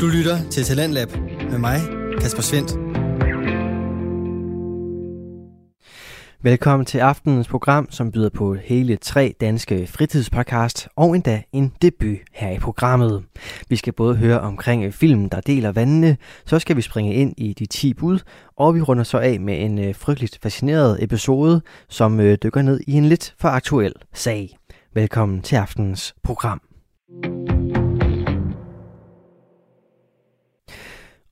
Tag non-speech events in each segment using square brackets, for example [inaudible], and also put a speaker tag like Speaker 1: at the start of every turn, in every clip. Speaker 1: Du lytter til Talentlab med mig, Kasper Svendt.
Speaker 2: Velkommen til aftenens program, som byder på hele tre danske fritidspodcast og endda en debut her i programmet. Vi skal både høre omkring filmen, der deler vandene, så skal vi springe ind i de 10 bud, og vi runder så af med en øh, frygteligt fascineret episode, som øh, dykker ned i en lidt for aktuel sag. Velkommen til aftenens program.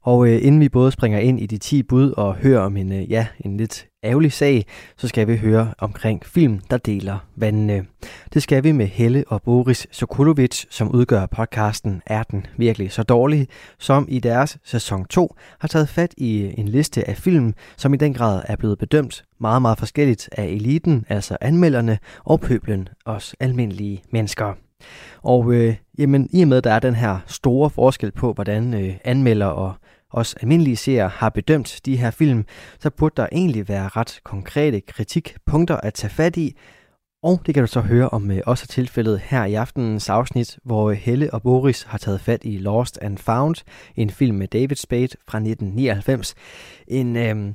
Speaker 2: Og øh, inden vi både springer ind i de 10 bud og hører om en, øh, ja, en lidt ærgerlig sag, så skal vi høre omkring film, der deler vandene. Det skal vi med Helle og Boris Sokolovic, som udgør podcasten Er den virkelig så dårlig, som i deres sæson 2 har taget fat i øh, en liste af film, som i den grad er blevet bedømt meget, meget forskelligt af eliten, altså anmelderne, og pøblen, os almindelige mennesker. Og øh, jamen, i og med, at der er den her store forskel på, hvordan øh, anmelder og os almindelige seere har bedømt de her film, så burde der egentlig være ret konkrete kritikpunkter at tage fat i, og det kan du så høre om øh, også er tilfældet her i aftenens afsnit, hvor øh, Helle og Boris har taget fat i Lost and Found, en film med David Spade fra 1999. En, øh,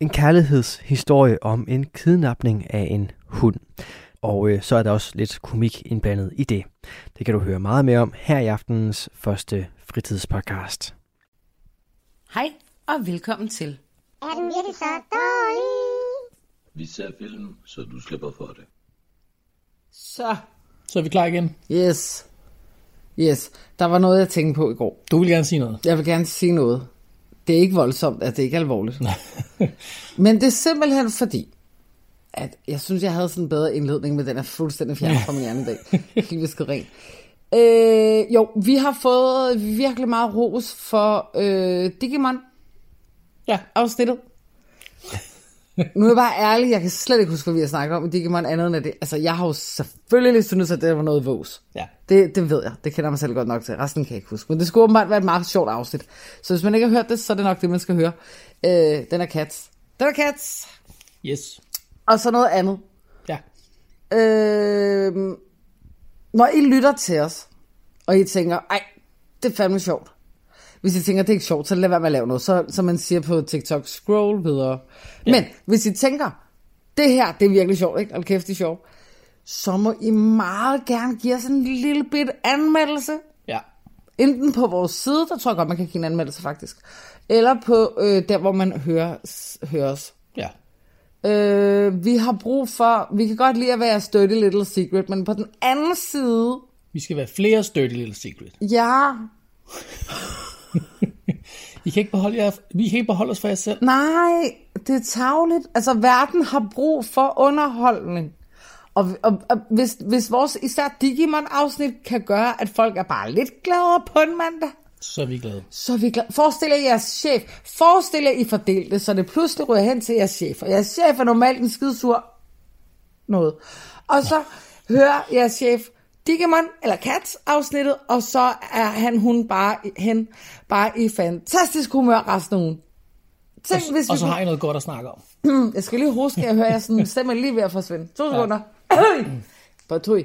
Speaker 2: en kærlighedshistorie om en kidnapning af en hund. Og øh, så er der også lidt komik indblandet i det. Det kan du høre meget mere om her i aftenens første fritidspodcast.
Speaker 3: Hej og velkommen til.
Speaker 4: Er den virkelig så dårlig?
Speaker 5: Vi ser film, så du slipper for det.
Speaker 6: Så,
Speaker 7: Så er vi klar igen.
Speaker 6: yes. Yes, der var noget, jeg tænkte på i går.
Speaker 7: Du vil gerne sige noget.
Speaker 6: Jeg vil gerne sige noget. Det er ikke voldsomt, at det ikke
Speaker 5: [laughs]
Speaker 6: er alvorligt. Men det er simpelthen fordi, at jeg synes, jeg havde sådan en bedre indledning, men den er fuldstændig fjernet fra min hjerne i dag. Kigviske ren. Øh, jo, vi har fået virkelig meget ros for øh, Digimon.
Speaker 7: Ja.
Speaker 6: afsnittet. Nu er jeg bare ærlig, jeg kan slet ikke huske, hvad vi har snakket om i Digimon andet end at det. Altså, jeg har jo selvfølgelig syntes, at det var noget vås.
Speaker 7: Ja.
Speaker 6: Det, det ved jeg. Det kender jeg mig selv godt nok til. Resten kan jeg ikke huske. Men det skulle åbenbart være et meget sjovt afsnit. Så hvis man ikke har hørt det, så er det nok det, man skal høre. Øh, den er Cats. Den er Cats!
Speaker 7: Yes.
Speaker 6: Og så noget andet.
Speaker 7: Ja.
Speaker 6: Øh, når I lytter til os, og I tænker, ej, det er fandme sjovt. Hvis I tænker, det er ikke sjovt, så lad være med at lave noget. Så, så man siger på TikTok, scroll videre. Ja. Men hvis I tænker, det her, det er virkelig sjovt, ikke? Hold kæft, det er sjovt. Så må I meget gerne give os en lille bit anmeldelse.
Speaker 7: Ja.
Speaker 6: Enten på vores side, der tror jeg godt, man kan give en anmeldelse faktisk. Eller på øh, der, hvor man hører, hører os.
Speaker 7: Ja.
Speaker 6: Øh, vi har brug for, vi kan godt lide at være støtte Little Secret, men på den anden side,
Speaker 7: Vi skal være flere Dirty Little Secret. [laughs]
Speaker 6: ja,
Speaker 7: I kan ikke beholde, jer, vi kan ikke beholde os for jer selv.
Speaker 6: nej, det er tavligt. Altså, verden har brug for underholdning. Og, og, og hvis, hvis vores især Digimon-afsnit kan gøre, at folk er bare lidt gladere på en mandag,
Speaker 7: Så er vi glade.
Speaker 6: så er vi glade. Forestil jer jeres chef. Forestil jer, I fordelte det, så det pludselig ryger hen til jeres chef. Og jeres chef er normalt en skidesur noget. Og så hører jeres chef Digimon eller Cats afsnittet, og så er han hun bare, i- hen, bare i fantastisk humør resten af ugen. Tænk, hvis vi
Speaker 7: Og så
Speaker 6: kunne-
Speaker 7: har I noget godt at snakke om.
Speaker 6: jeg skal lige hoste, jeg hører, jeg sådan stemmer lige ved at forsvinde. To sekunder. Bare tog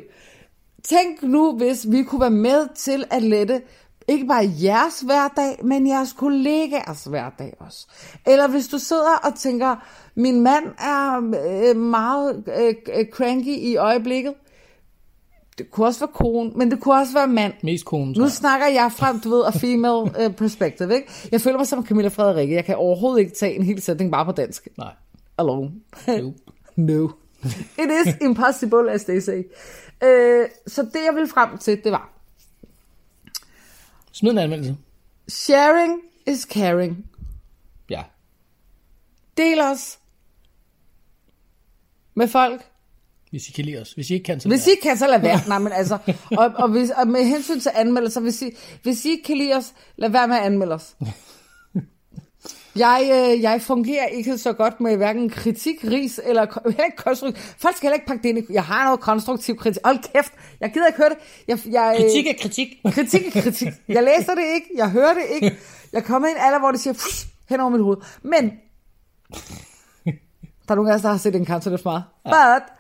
Speaker 6: Tænk nu, hvis vi kunne være med til at lette ikke bare jeres hverdag, men jeres kollegaers hverdag også. Eller hvis du sidder og tænker, min mand er øh, meget øh, øh, cranky i øjeblikket. Det kunne også være kone, men det kunne også være mand.
Speaker 7: Mest konen, tror
Speaker 6: Nu
Speaker 7: jeg.
Speaker 6: snakker jeg frem, du ved, og female uh, perspective, ikke? Jeg føler mig som Camilla Frederikke. Jeg kan overhovedet ikke tage en hel sætning bare på dansk.
Speaker 7: Nej.
Speaker 6: Alone.
Speaker 7: Jo.
Speaker 6: no. [laughs] It is impossible, as they say. Uh, så det, jeg ville frem til, det var,
Speaker 7: Smid en anmeldelse.
Speaker 6: sharing is caring.
Speaker 7: Ja.
Speaker 6: Del os med folk.
Speaker 7: Hvis I kan lide os. Hvis I ikke kan, så
Speaker 6: Hvis I
Speaker 7: lad
Speaker 6: ikke kan, så lad
Speaker 7: [laughs]
Speaker 6: være. Nej, men altså, og, og, hvis, og med hensyn til anmeldelser, hvis I, hvis I ikke kan lide os, lad være med at anmelde
Speaker 7: [laughs]
Speaker 6: os. Jeg, øh, jeg fungerer ikke så godt med hverken kritik, ris eller ko- [laughs] heller ikke konstruktiv. Folk skal heller ikke pakke det ind i... Jeg har noget konstruktiv kritik. Hold kæft, jeg gider ikke høre det. Jeg, jeg,
Speaker 7: være.
Speaker 6: øh,
Speaker 7: Kritik er kritik.
Speaker 6: Kritik er kritik. Jeg læser det ikke, jeg hører det ikke. Jeg kommer ind alder, hvor det siger "Fush!" hen over mit hoved. Men, der er nogle af os, der har set en kanto, det er for meget. But,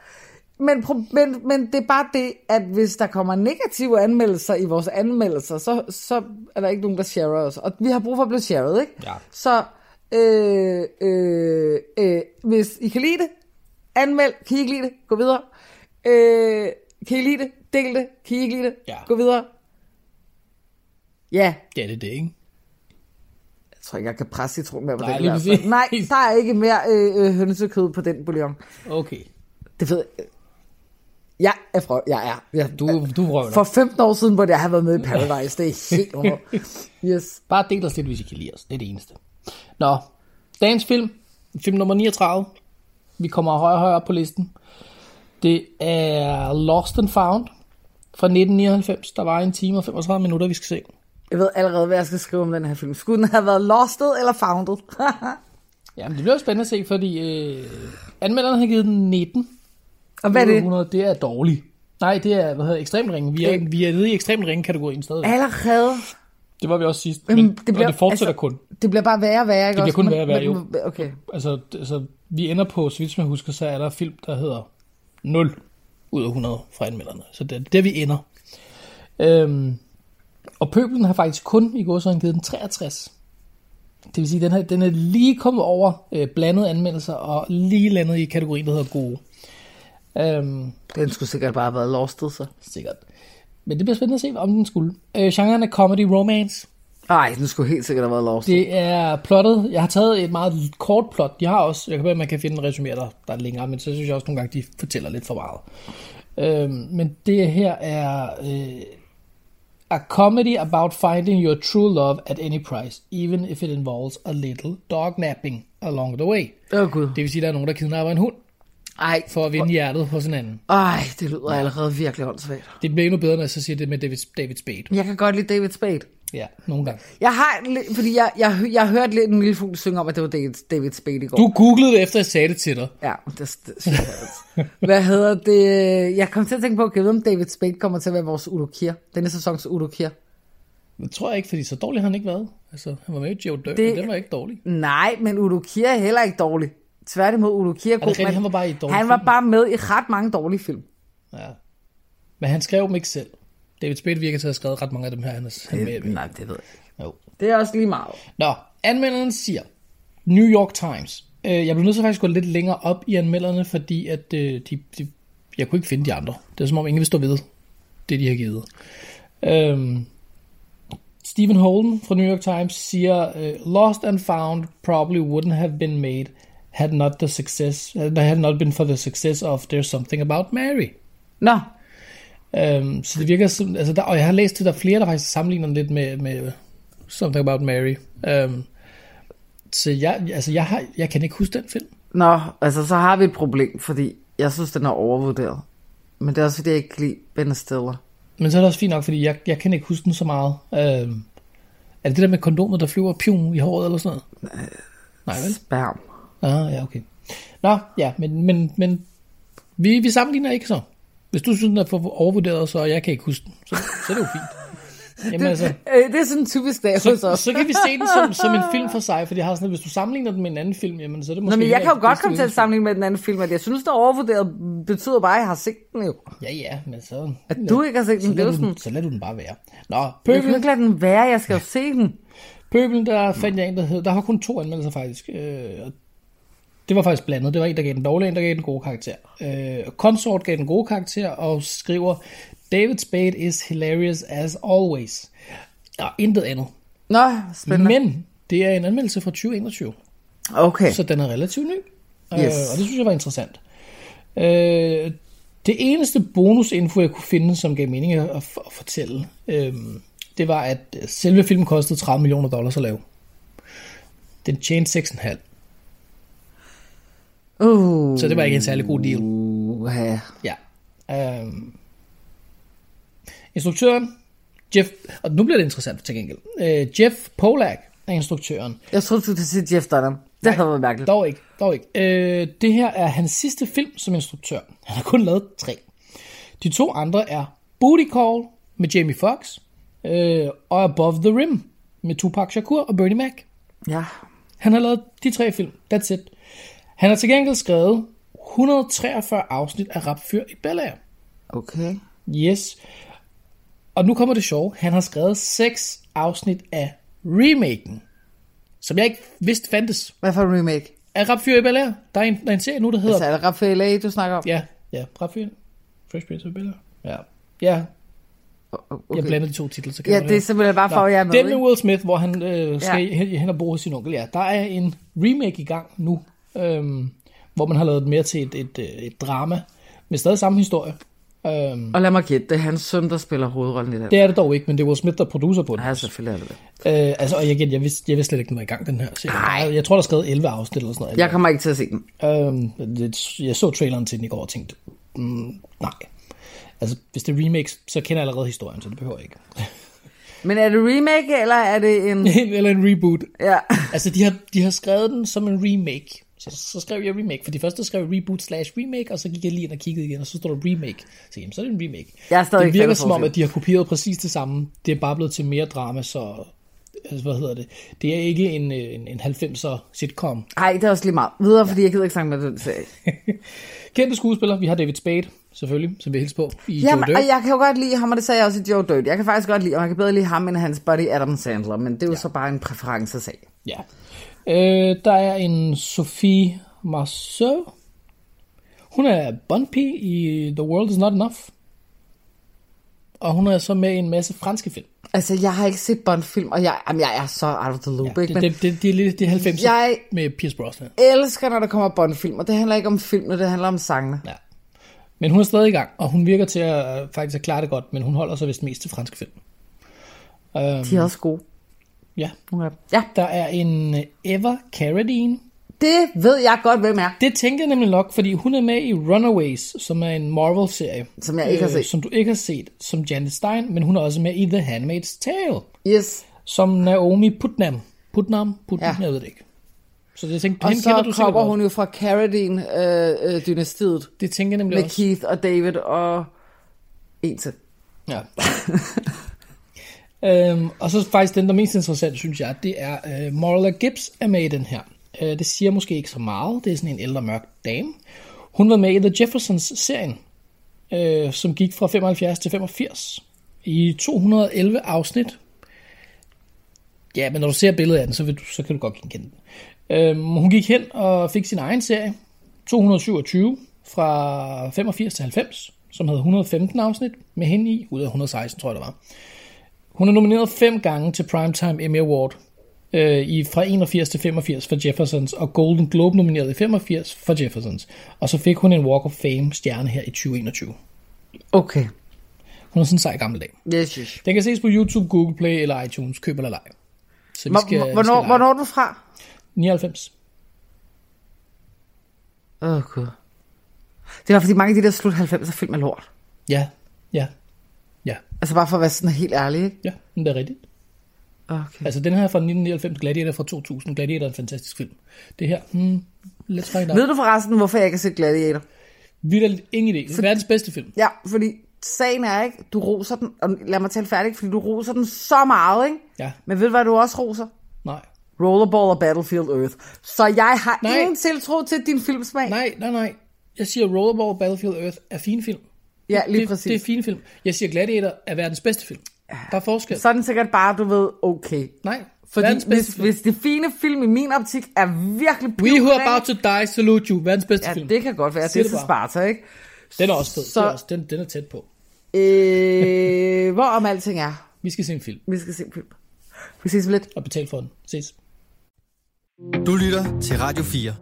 Speaker 6: Men, pro- men, men det er bare det, at hvis der kommer negative anmeldelser i vores anmeldelser, så, så er der ikke nogen, der sharer os. Og vi har brug for at blive shared, ikke?
Speaker 7: Ja.
Speaker 6: Så øh, øh, øh, hvis I kan lide det, anmeld. Kan I ikke lide det? Gå videre. Øh, kan I lide det? Del det. Kan I ikke lide det?
Speaker 7: Ja.
Speaker 6: Gå videre. Ja,
Speaker 7: Ja, det er det, ikke?
Speaker 6: jeg tror ikke, jeg kan presse citronen mere på
Speaker 7: Nej,
Speaker 6: den.
Speaker 7: lige
Speaker 6: altså.
Speaker 7: præcis.
Speaker 6: Nej, der er ikke mere øh, øh, hønsekød på den bouillon.
Speaker 7: Okay.
Speaker 6: Det ved jeg. Jeg er fra, jeg er. Jeg,
Speaker 7: Du, du røvler.
Speaker 6: for 15 år siden, hvor jeg havde været med i Paradise, det er
Speaker 7: [laughs]
Speaker 6: helt over. Yes.
Speaker 7: Bare del os lidt, hvis I kan lide os. Det er det eneste. Nå, dagens film, film nummer 39. Vi kommer højere og højere op på listen. Det er Lost and Found fra 1999. Der var en time og 35 minutter, vi skal se.
Speaker 6: Jeg ved allerede, hvad jeg skal skrive om den her film. Skulle den have været lostet eller founded? [laughs]
Speaker 7: Jamen, det bliver jo spændende at se, fordi øh, anmelderne har givet den 19.
Speaker 6: Og hvad er det?
Speaker 7: 100, det er dårligt. Nej, det er, hvad hedder, ekstremt ringe. Vi er, vi er nede i ekstremt ringe kategorien stadigvæk.
Speaker 6: Allerede.
Speaker 7: Det var vi også sidst, men
Speaker 6: Jamen,
Speaker 7: det, bliver, og det fortsætter altså, kun.
Speaker 6: Det bliver bare værre og værre, ikke
Speaker 7: Det bliver
Speaker 6: også?
Speaker 7: kun
Speaker 6: Men-
Speaker 7: værre og værre, jo.
Speaker 6: men- Okay.
Speaker 7: Altså, d- altså, vi ender på, så vidt som jeg husker, så er der film, der hedder 0 ud af 100 fra anmelderne. Så det er der, vi ender. Øhm, og pøblen har faktisk kun i går så givet den 63. Det vil sige, den, her, den er lige kommet over øh, blandede anmeldelser og lige landet i kategorien, der hedder gode. Øhm,
Speaker 6: Den skulle sikkert bare have været lostet, så.
Speaker 7: sikkert. Men det bliver spændende at se, om den skulle. Øh, genren er comedy romance.
Speaker 6: Nej, den skulle helt sikkert have været lostet.
Speaker 7: Det er plottet. Jeg har taget et meget kort plot. De har også, jeg kan høre, man kan finde en resumé, der, der er længere, men så synes jeg også nogle gange, de fortæller lidt for meget. Øhm, men det her er øh, a comedy about finding your true love at any price, even if it involves a little dog napping along the way.
Speaker 6: Åh, oh, Gud.
Speaker 7: Det vil sige, at der er nogen, der kidnapper en hund
Speaker 6: Ej,
Speaker 7: for at vinde hjertet hos en anden.
Speaker 6: Ej, det lyder allerede virkelig åndssvagt.
Speaker 7: Det bliver endnu bedre, når jeg så siger det med David, David Spade.
Speaker 6: Jeg kan godt lide David Spade.
Speaker 7: Ja, nogle gange.
Speaker 6: Jeg har, en li- fordi jeg, jeg, hø- jeg hørte lidt en lille fugl synge om, at det var David, David Spade i går.
Speaker 7: Du googlede det, efter jeg sagde det til dig.
Speaker 6: Ja, det, det synes jeg altså. Hvad hedder det? Jeg kom til at tænke på, at jeg ved, om David Spade kommer til at være vores Ulukir. Denne sæsons Ulukir.
Speaker 7: Det tror jeg ikke, fordi så dårlig har han ikke været. Altså, han var med i Joe Dirt,
Speaker 6: Det-
Speaker 7: men den var ikke dårlig.
Speaker 6: Nej, men Ulukir er heller ikke dårlig. Tværtimod, Ulukir er god,
Speaker 7: rigtigt?
Speaker 6: men
Speaker 7: Han var bare i dårlige
Speaker 6: Han var
Speaker 7: film.
Speaker 6: bare med i ret mange dårlige film.
Speaker 7: Ja. Men han skrev dem ikke selv. David Spade virker til at have skrevet ret mange af dem her, han er han er med i.
Speaker 6: Nej, det ved jeg ikke.
Speaker 7: Jo.
Speaker 6: Det er også lige meget.
Speaker 7: Nå, anmelderen siger, New York Times. Øh, jeg blev nødt til faktisk at gå lidt længere op i anmelderne, fordi at, øh, de, de, jeg kunne ikke finde de andre. Det er som om ingen vil stå ved det, de har givet. Øhm, Stephen Holden fra New York Times siger, øh, Lost and Found probably wouldn't have been made had not the success had not been for the success of There's Something About Mary.
Speaker 6: Nå,
Speaker 7: Øhm, så det virker som, altså der, og jeg har læst, at der er flere, der faktisk sammenligner den lidt med, med Something About Mary. Øhm, så jeg, altså jeg, har, jeg kan ikke huske den film.
Speaker 6: Nå, altså så har vi et problem, fordi jeg synes, den er overvurderet. Men det er også, fordi jeg ikke kan lide Ben Stiller.
Speaker 7: Men så er det også fint nok, fordi jeg, jeg kan ikke huske den så meget. Øhm, er det det der med kondomet, der flyver pium i håret eller sådan noget? Nej, vel?
Speaker 6: Sperm.
Speaker 7: Ah, ja, okay. Nå, ja, men, men, men vi, vi sammenligner ikke så. Hvis du synes, den er for overvurderet, så og jeg kan ikke huske den, så, så er det jo fint. Jamen, altså,
Speaker 6: Øh, det er sådan en typisk dag hos
Speaker 7: så,
Speaker 6: os.
Speaker 7: så kan vi se den som, som en film for sig, for det har sådan, at hvis du sammenligner den med en anden film, jamen, så er det
Speaker 6: Nå,
Speaker 7: måske...
Speaker 6: men jeg
Speaker 7: heller
Speaker 6: kan jo
Speaker 7: ikke
Speaker 6: godt
Speaker 7: det
Speaker 6: komme til at
Speaker 7: bedste
Speaker 6: sammenligne med den anden film, at jeg synes, der er overvurderet betyder bare, at jeg har set den jo.
Speaker 7: udtryk. Ja, ja, men så...
Speaker 6: At du ikke har set
Speaker 7: så
Speaker 6: den, det
Speaker 7: lader,
Speaker 6: er jo
Speaker 7: du
Speaker 6: sådan...
Speaker 7: den, så lader du den bare være. Nå,
Speaker 6: Jeg kan jo
Speaker 7: pøbelen,
Speaker 6: ikke lade den være, jeg skal jo se den.
Speaker 7: pøbelen, der fandt jeg en, der hed... Der var kun to anmeldelser, faktisk. Øh, og det var faktisk blandet. Det var en, der gav den dårlige, en, der gav den gode karakter. Øh, Consort gav den gode karakter og skriver, David Spade is hilarious as always. Og intet andet.
Speaker 6: Nå, spændende. Men...
Speaker 7: Men det er en anmeldelse fra 2021.
Speaker 6: Okay.
Speaker 7: Så den er relativt ny. Yes.
Speaker 6: Yes.
Speaker 7: Øh, og det synes jeg var interessant. Øh, det eneste bonusinfo, jeg kunne finde, som gav mening at, at, at fortælle, øh, det var, at selve filmen kostede 30 millioner dollars at lave. Den tjente 6,5.
Speaker 6: Uh,
Speaker 7: Så det var ikke en særlig god
Speaker 6: Mm.
Speaker 7: deal.
Speaker 6: ja.
Speaker 7: Ja. Øh, instruktøren, Jeff, og nu bliver det interessant til gengæld. Øh, Jeff Polak er instruktøren.
Speaker 6: Jeg troede, du ville sige Jeff Dunham. Det havde været mærkeligt.
Speaker 7: Dog ikke, dog ikke. Øh, det her er hans sidste film som instruktør. Han har kun lavet tre. De to andre er Booty Call med Jamie Foxx øh, og Above the Rim med Tupac Shakur og Bernie Mac.
Speaker 6: Ja.
Speaker 7: Han har lavet de tre film. That's it. Han har til gengæld skrevet 143 afsnit af Rapfyr i Bel Air.
Speaker 6: Okay.
Speaker 7: Yes. Og nu kommer det sjove. Han har skrevet 6 afsnit af remaken, som jeg ikke vidste fandtes.
Speaker 6: Hvad for en remake?
Speaker 7: Af Rapfyr i Bel Air. Der er en, der er en serie nu, der hedder...
Speaker 6: Altså, er det Rafael A., du snakker om?
Speaker 7: Ja, ja. Rapfyr. Fresh Prince of Bel Air. Ja. Ja, okay. jeg blander de to titler, så kan
Speaker 6: Ja,
Speaker 7: man
Speaker 6: det er simpelthen bare for, at jeg er med.
Speaker 7: Den med
Speaker 6: ikke?
Speaker 7: Will Smith, hvor han øh, skal ja. hen, hen og bo hos sin onkel. Ja, der er en remake i gang nu, øhm, hvor man har lavet det mere til et, et, øh, et drama, men stadig samme historie. Øhm,
Speaker 6: Og lad mig gætte, det er hans søn, der spiller hovedrollen i den.
Speaker 7: det er det dog ikke, men det er Will Smith, der er producer på den.
Speaker 6: Ja, selvfølgelig er det det.
Speaker 7: Øh, altså, og jeg, jeg, vidste, jeg vidste slet ikke, den var i gang, den her serie. Jeg, jeg tror, der er skrevet 11 afsnit eller sådan noget.
Speaker 6: Jeg kommer ikke til at se den.
Speaker 7: Øhm, det, jeg så traileren til den i går og tænkte, mm, nej. Altså, hvis det er remakes, så kender jeg allerede historien, så det behøver jeg ikke.
Speaker 6: Men er det remake, eller er det en...
Speaker 7: [laughs] Eller en reboot.
Speaker 6: Ja.
Speaker 7: Altså, de har, de har skrevet den som en remake. Så, så skrev jeg remake, for de første skrev jeg reboot slash remake, og så gik jeg lige ind og kiggede igen, og så stod der remake. Så jamen, så er det en remake.
Speaker 6: Jeg er stadig
Speaker 7: det
Speaker 6: ikke
Speaker 7: virker
Speaker 6: faldet
Speaker 7: som om,
Speaker 6: forskel.
Speaker 7: at de har kopieret præcis det samme. Det er bare blevet til mere drama, så... Altså, hvad hedder det? Det er ikke en, øh, en, en 90'er sitcom.
Speaker 6: Ej, det er også lige meget. Videre, fordi jeg gider ikke snakke med den serie.
Speaker 7: Kendte skuespiller, vi har David Spade, selvfølgelig, som vi hilser på i
Speaker 6: Jamen,
Speaker 7: Joe Dirt.
Speaker 6: og jeg kan jo godt lide ham, og det sagde jeg også i Joe Dirt. Jeg kan faktisk godt lide, og jeg kan bedre lide ham end hans buddy Adam Sandler, men det er jo ja. så bare en præferencesag.
Speaker 7: Ja. Øh, der er en Sophie Marceau. Hun er bondpige i The World Is Not Enough. Og hun er så med i en masse franske film.
Speaker 6: Altså, jeg har ikke set Bond-film, og jeg, jamen, jeg er så out of the loop, ja,
Speaker 7: Det,
Speaker 6: ikke? Men
Speaker 7: det, det, det er lidt det er 90'er
Speaker 6: Jeg-
Speaker 7: med Pierce Brosnan.
Speaker 6: elsker, når der kommer Bond-film, og det handler ikke om filmene, det handler om sangene.
Speaker 7: Ja. Men hun er stadig i gang, og hun virker til at øh, faktisk at klare det godt, men hun holder sig vist mest til franske film. Øhm,
Speaker 6: De er også gode.
Speaker 7: ja.
Speaker 6: Nogle af dem. Ja,
Speaker 7: Der er en øh, Eva Carradine.
Speaker 6: det ved jeg godt, hvem er,
Speaker 7: Det tænkte jeg nemlig nok, fordi hun er med i Runaways, som er en Marvel-serie.
Speaker 6: som jeg ikke har set.
Speaker 7: Øh, som du ikke har set, som Janet Stein, men hun er også med i The Handmaid's Tale,
Speaker 6: Yes.
Speaker 7: som Naomi Putnam. Putnam? Putnam?
Speaker 6: Ja.
Speaker 7: Ja. Jeg ved det ikke. Så det tænkte,
Speaker 6: Og
Speaker 7: hende kender du
Speaker 6: så
Speaker 7: sikkert
Speaker 6: kommer
Speaker 7: godt.
Speaker 6: hun jo fra Carradine-dynastiet øh, øh,
Speaker 7: Det tænker jeg nemlig
Speaker 6: med
Speaker 7: også.
Speaker 6: Keith og David og en til.
Speaker 7: Ja. øhm, og så faktisk den, der er mest interessant, synes jeg, det er øh, Marla Gibbs er med i den her. Øh, det siger måske ikke så meget. Det er sådan en ældre mørk dame. Hun var med i The Jeffersons-serien, øh, som gik fra 75 til 85 i 211 afsnit. Ja, men når du ser billedet af den, så, vil du, så kan du godt genkende den. Øhm, hun gik hen og fik sin egen serie, 227, fra 85 til 90, som havde 115 afsnit med hende i, ud af 116, tror jeg det var. Hun er nomineret fem gange til Primetime Emmy Award øh, i, fra 81 til 85 for Jeffersons, og Golden Globe nomineret i 85 for Jeffersons. Og så fik hun en Walk of Fame stjerne her i 2021.
Speaker 6: Okay.
Speaker 7: Hun er sådan en sej gammel dag.
Speaker 6: Yes, yes.
Speaker 7: Den kan ses på YouTube, Google Play eller iTunes, køb eller leg. Så vi skal, vi skal
Speaker 6: Hvornår,
Speaker 7: lege.
Speaker 6: hvornår er du fra?
Speaker 7: 99.
Speaker 6: Åh, oh, gud. Det var fordi mange af de der slut 90'er film er lort.
Speaker 7: Ja, ja,
Speaker 6: Altså bare for at være sådan helt ærlig, ikke?
Speaker 7: ja, men det er rigtigt.
Speaker 6: Mm. Okay.
Speaker 7: Altså den her er fra 1999, Gladiator er fra 2000. Gladiator er en fantastisk film. Det her, hmm, let's find out.
Speaker 6: Ved du forresten, hvorfor jeg ikke har set Gladiator?
Speaker 7: Vildt ingen idé. Det er verdens bedste film.
Speaker 6: Ja, fordi sagen er ikke, du roser den, og lad mig tale færdig, fordi du roser den så meget, ikke?
Speaker 7: Ja,
Speaker 6: Men ved du, hvad du også roser?
Speaker 7: nej.
Speaker 6: Rollerball og Battlefield Earth. Så jeg har
Speaker 7: Nej.
Speaker 6: Nej. ingen tiltro til din filmsmag.
Speaker 7: Nej, nej, nej. Jeg siger Rollerball Battlefield Earth er fin film.
Speaker 6: Ja, lige
Speaker 7: det,
Speaker 6: præcis.
Speaker 7: Det er fin film. Jeg siger Gladiator er verdens bedste film. Der er forskel.
Speaker 6: Så er den sikkert bare, du ved, okay.
Speaker 7: Nej, verdens
Speaker 6: Fordi
Speaker 7: bedste
Speaker 6: hvis,
Speaker 7: film.
Speaker 6: hvis det fine film i min optik er virkelig
Speaker 7: We who are
Speaker 6: pivkræk-
Speaker 7: about to die salute you. Verdens bedste
Speaker 6: Ja,
Speaker 7: film.
Speaker 6: det kan godt være.
Speaker 7: Siger
Speaker 6: Det er
Speaker 7: det
Speaker 6: til
Speaker 7: bare.
Speaker 6: Sparta, ikke?
Speaker 7: Den er også fed. Så...
Speaker 6: Så-
Speaker 7: Den, er også, den, den er tæt på. [laughs]
Speaker 6: Øh, hvor om alting er.
Speaker 7: Vi skal se en film
Speaker 6: Vi skal se film. Vi ses om lidt.
Speaker 7: og betale for den. Ses.
Speaker 8: Du lytter til Radio 4.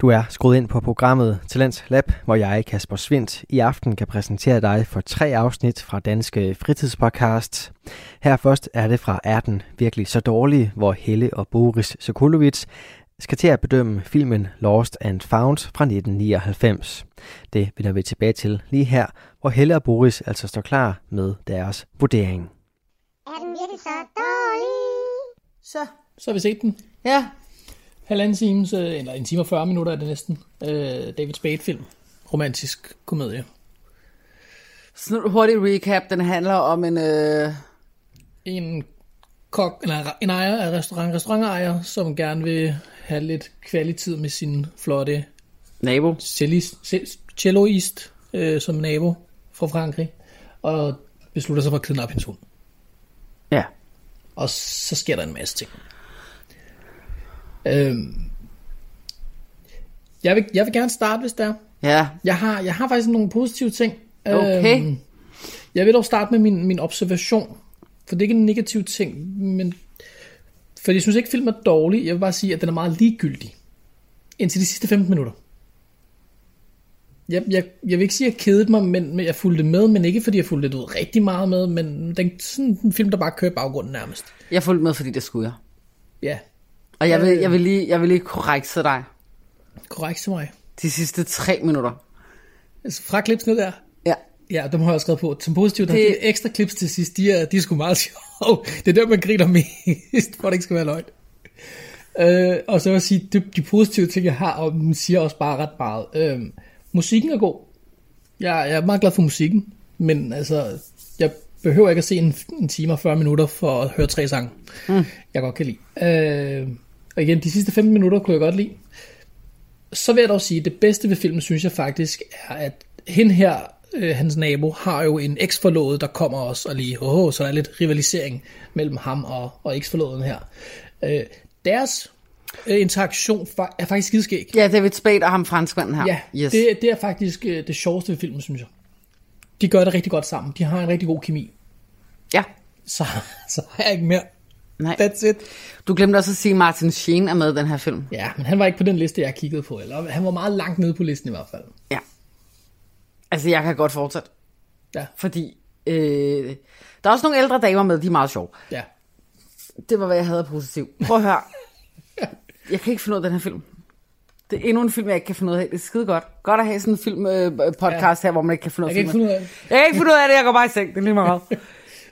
Speaker 2: Du er skruet ind på programmet Talents Lab, hvor jeg, Kasper Svindt, i aften kan præsentere dig for tre afsnit fra Danske Fritidspodcast. Her først er det fra Er den virkelig så dårlig, hvor Helle og Boris Sokolovits skal til at bedømme filmen Lost and Found fra 1999. Det vender vi tilbage til lige her, hvor Helle og Boris altså står klar med deres vurdering.
Speaker 9: Er den virkelig så dårlig?
Speaker 6: Så.
Speaker 7: Så har vi set den.
Speaker 6: Ja.
Speaker 7: Halvanden time, så, eller en time og 40 minutter er det næsten. Øh, David Spade-film. Romantisk komedie.
Speaker 6: Sådan en hurtig recap. Den handler om en... Øh...
Speaker 7: en kok, eller en ejer af restaurant, restaurantejer, som gerne vil have lidt kvalitet med sin flotte
Speaker 6: Nabo.
Speaker 7: cellis- cel- celloist øh, som nabo fra Frankrig, og beslutter sig for at kidnappe hendes hund.
Speaker 6: Ja.
Speaker 7: Og så sker der en masse ting. Øhm, jeg, vil, jeg vil gerne starte, hvis der.
Speaker 6: Ja.
Speaker 7: Jeg har, jeg har faktisk nogle positive ting.
Speaker 6: Okay.
Speaker 7: Øhm, jeg vil dog starte med min, min observation, for det er ikke en negativ ting, men for jeg synes ikke, filmen er dårlig. Jeg vil bare sige, at den er meget ligegyldig. Indtil de sidste 15 minutter. Jeg, jeg, jeg vil ikke sige, at jeg kedede mig, men, men jeg fulgte med, men ikke fordi jeg fulgte det ud rigtig meget med, men den sådan en film, der bare kører i baggrunden nærmest.
Speaker 6: Jeg fulgte med, fordi det skulle jeg.
Speaker 7: Ja,
Speaker 6: Og jeg vil, jeg vil lige, jeg vil lige korrekse dig
Speaker 7: korrekt til mig.
Speaker 6: de sidste tre minutter.
Speaker 7: Altså, fra klipsene der,
Speaker 6: Ja.
Speaker 7: Ja, dem har jeg også skrevet på. Som positivt, det...
Speaker 6: Det-
Speaker 7: de ekstra klips til sidst, de er, de er sgu meget [laughs] sjove. Det er der, man griner mest, for det ikke skal være løgn. Øh, og så vil jeg sige, de, de positive ting, jeg har, og den siger også bare ret meget. Øh, musikken er god. Jeg, jeg er meget glad for musikken, men altså, jeg behøver ikke at se en, en time og 40 minutter for at høre tre sange, mm. jeg godt kan lide. Øh, og igen, de sidste 15 minutter kunne jeg godt lide. Så vil jeg dog sige, at det bedste ved filmen, synes jeg faktisk, er, at hende her, øh, hans nabo, har jo en eksforlovet, der kommer også og lige, åh, så der er lidt rivalisering mellem ham og, og eksforloven her. Øh, deres øh, interaktion fa- er faktisk skideskæg.
Speaker 6: Ja, David Spade og ham franskmanden her.
Speaker 7: Ja,
Speaker 6: yes.
Speaker 7: det, det er faktisk øh, det sjoveste ved filmen, synes jeg. De gør det rigtig godt sammen. De har en rigtig god kemi.
Speaker 6: ja.
Speaker 7: Så, [laughs] så har jeg ikke mere.
Speaker 6: Nej.
Speaker 7: That's it.
Speaker 6: Du glemte også at sige, at Martin Sheen er med i den her film.
Speaker 7: Ja, men han var ikke på den liste, jeg kiggede på. Eller han var meget langt nede på listen i hvert fald.
Speaker 6: Ja. Altså, jeg kan godt fortsætte.
Speaker 7: Ja.
Speaker 6: Fordi øh, der er også nogle ældre damer med, de er meget sjove.
Speaker 7: Ja. [laughs]
Speaker 6: Det var, hvad jeg havde af positivt. Prøv at høre. Jeg kan ikke finde ud af den her film. Det er endnu en film, jeg ikke kan finde ud af. Det er skide godt. Godt at have sådan en film-podcast her, hvor man ikke kan finde ud af
Speaker 7: Jeg kan ikke finde ud af det.
Speaker 6: Jeg kan ikke finde ud af det, jeg går bare i seng. Det er lige meget.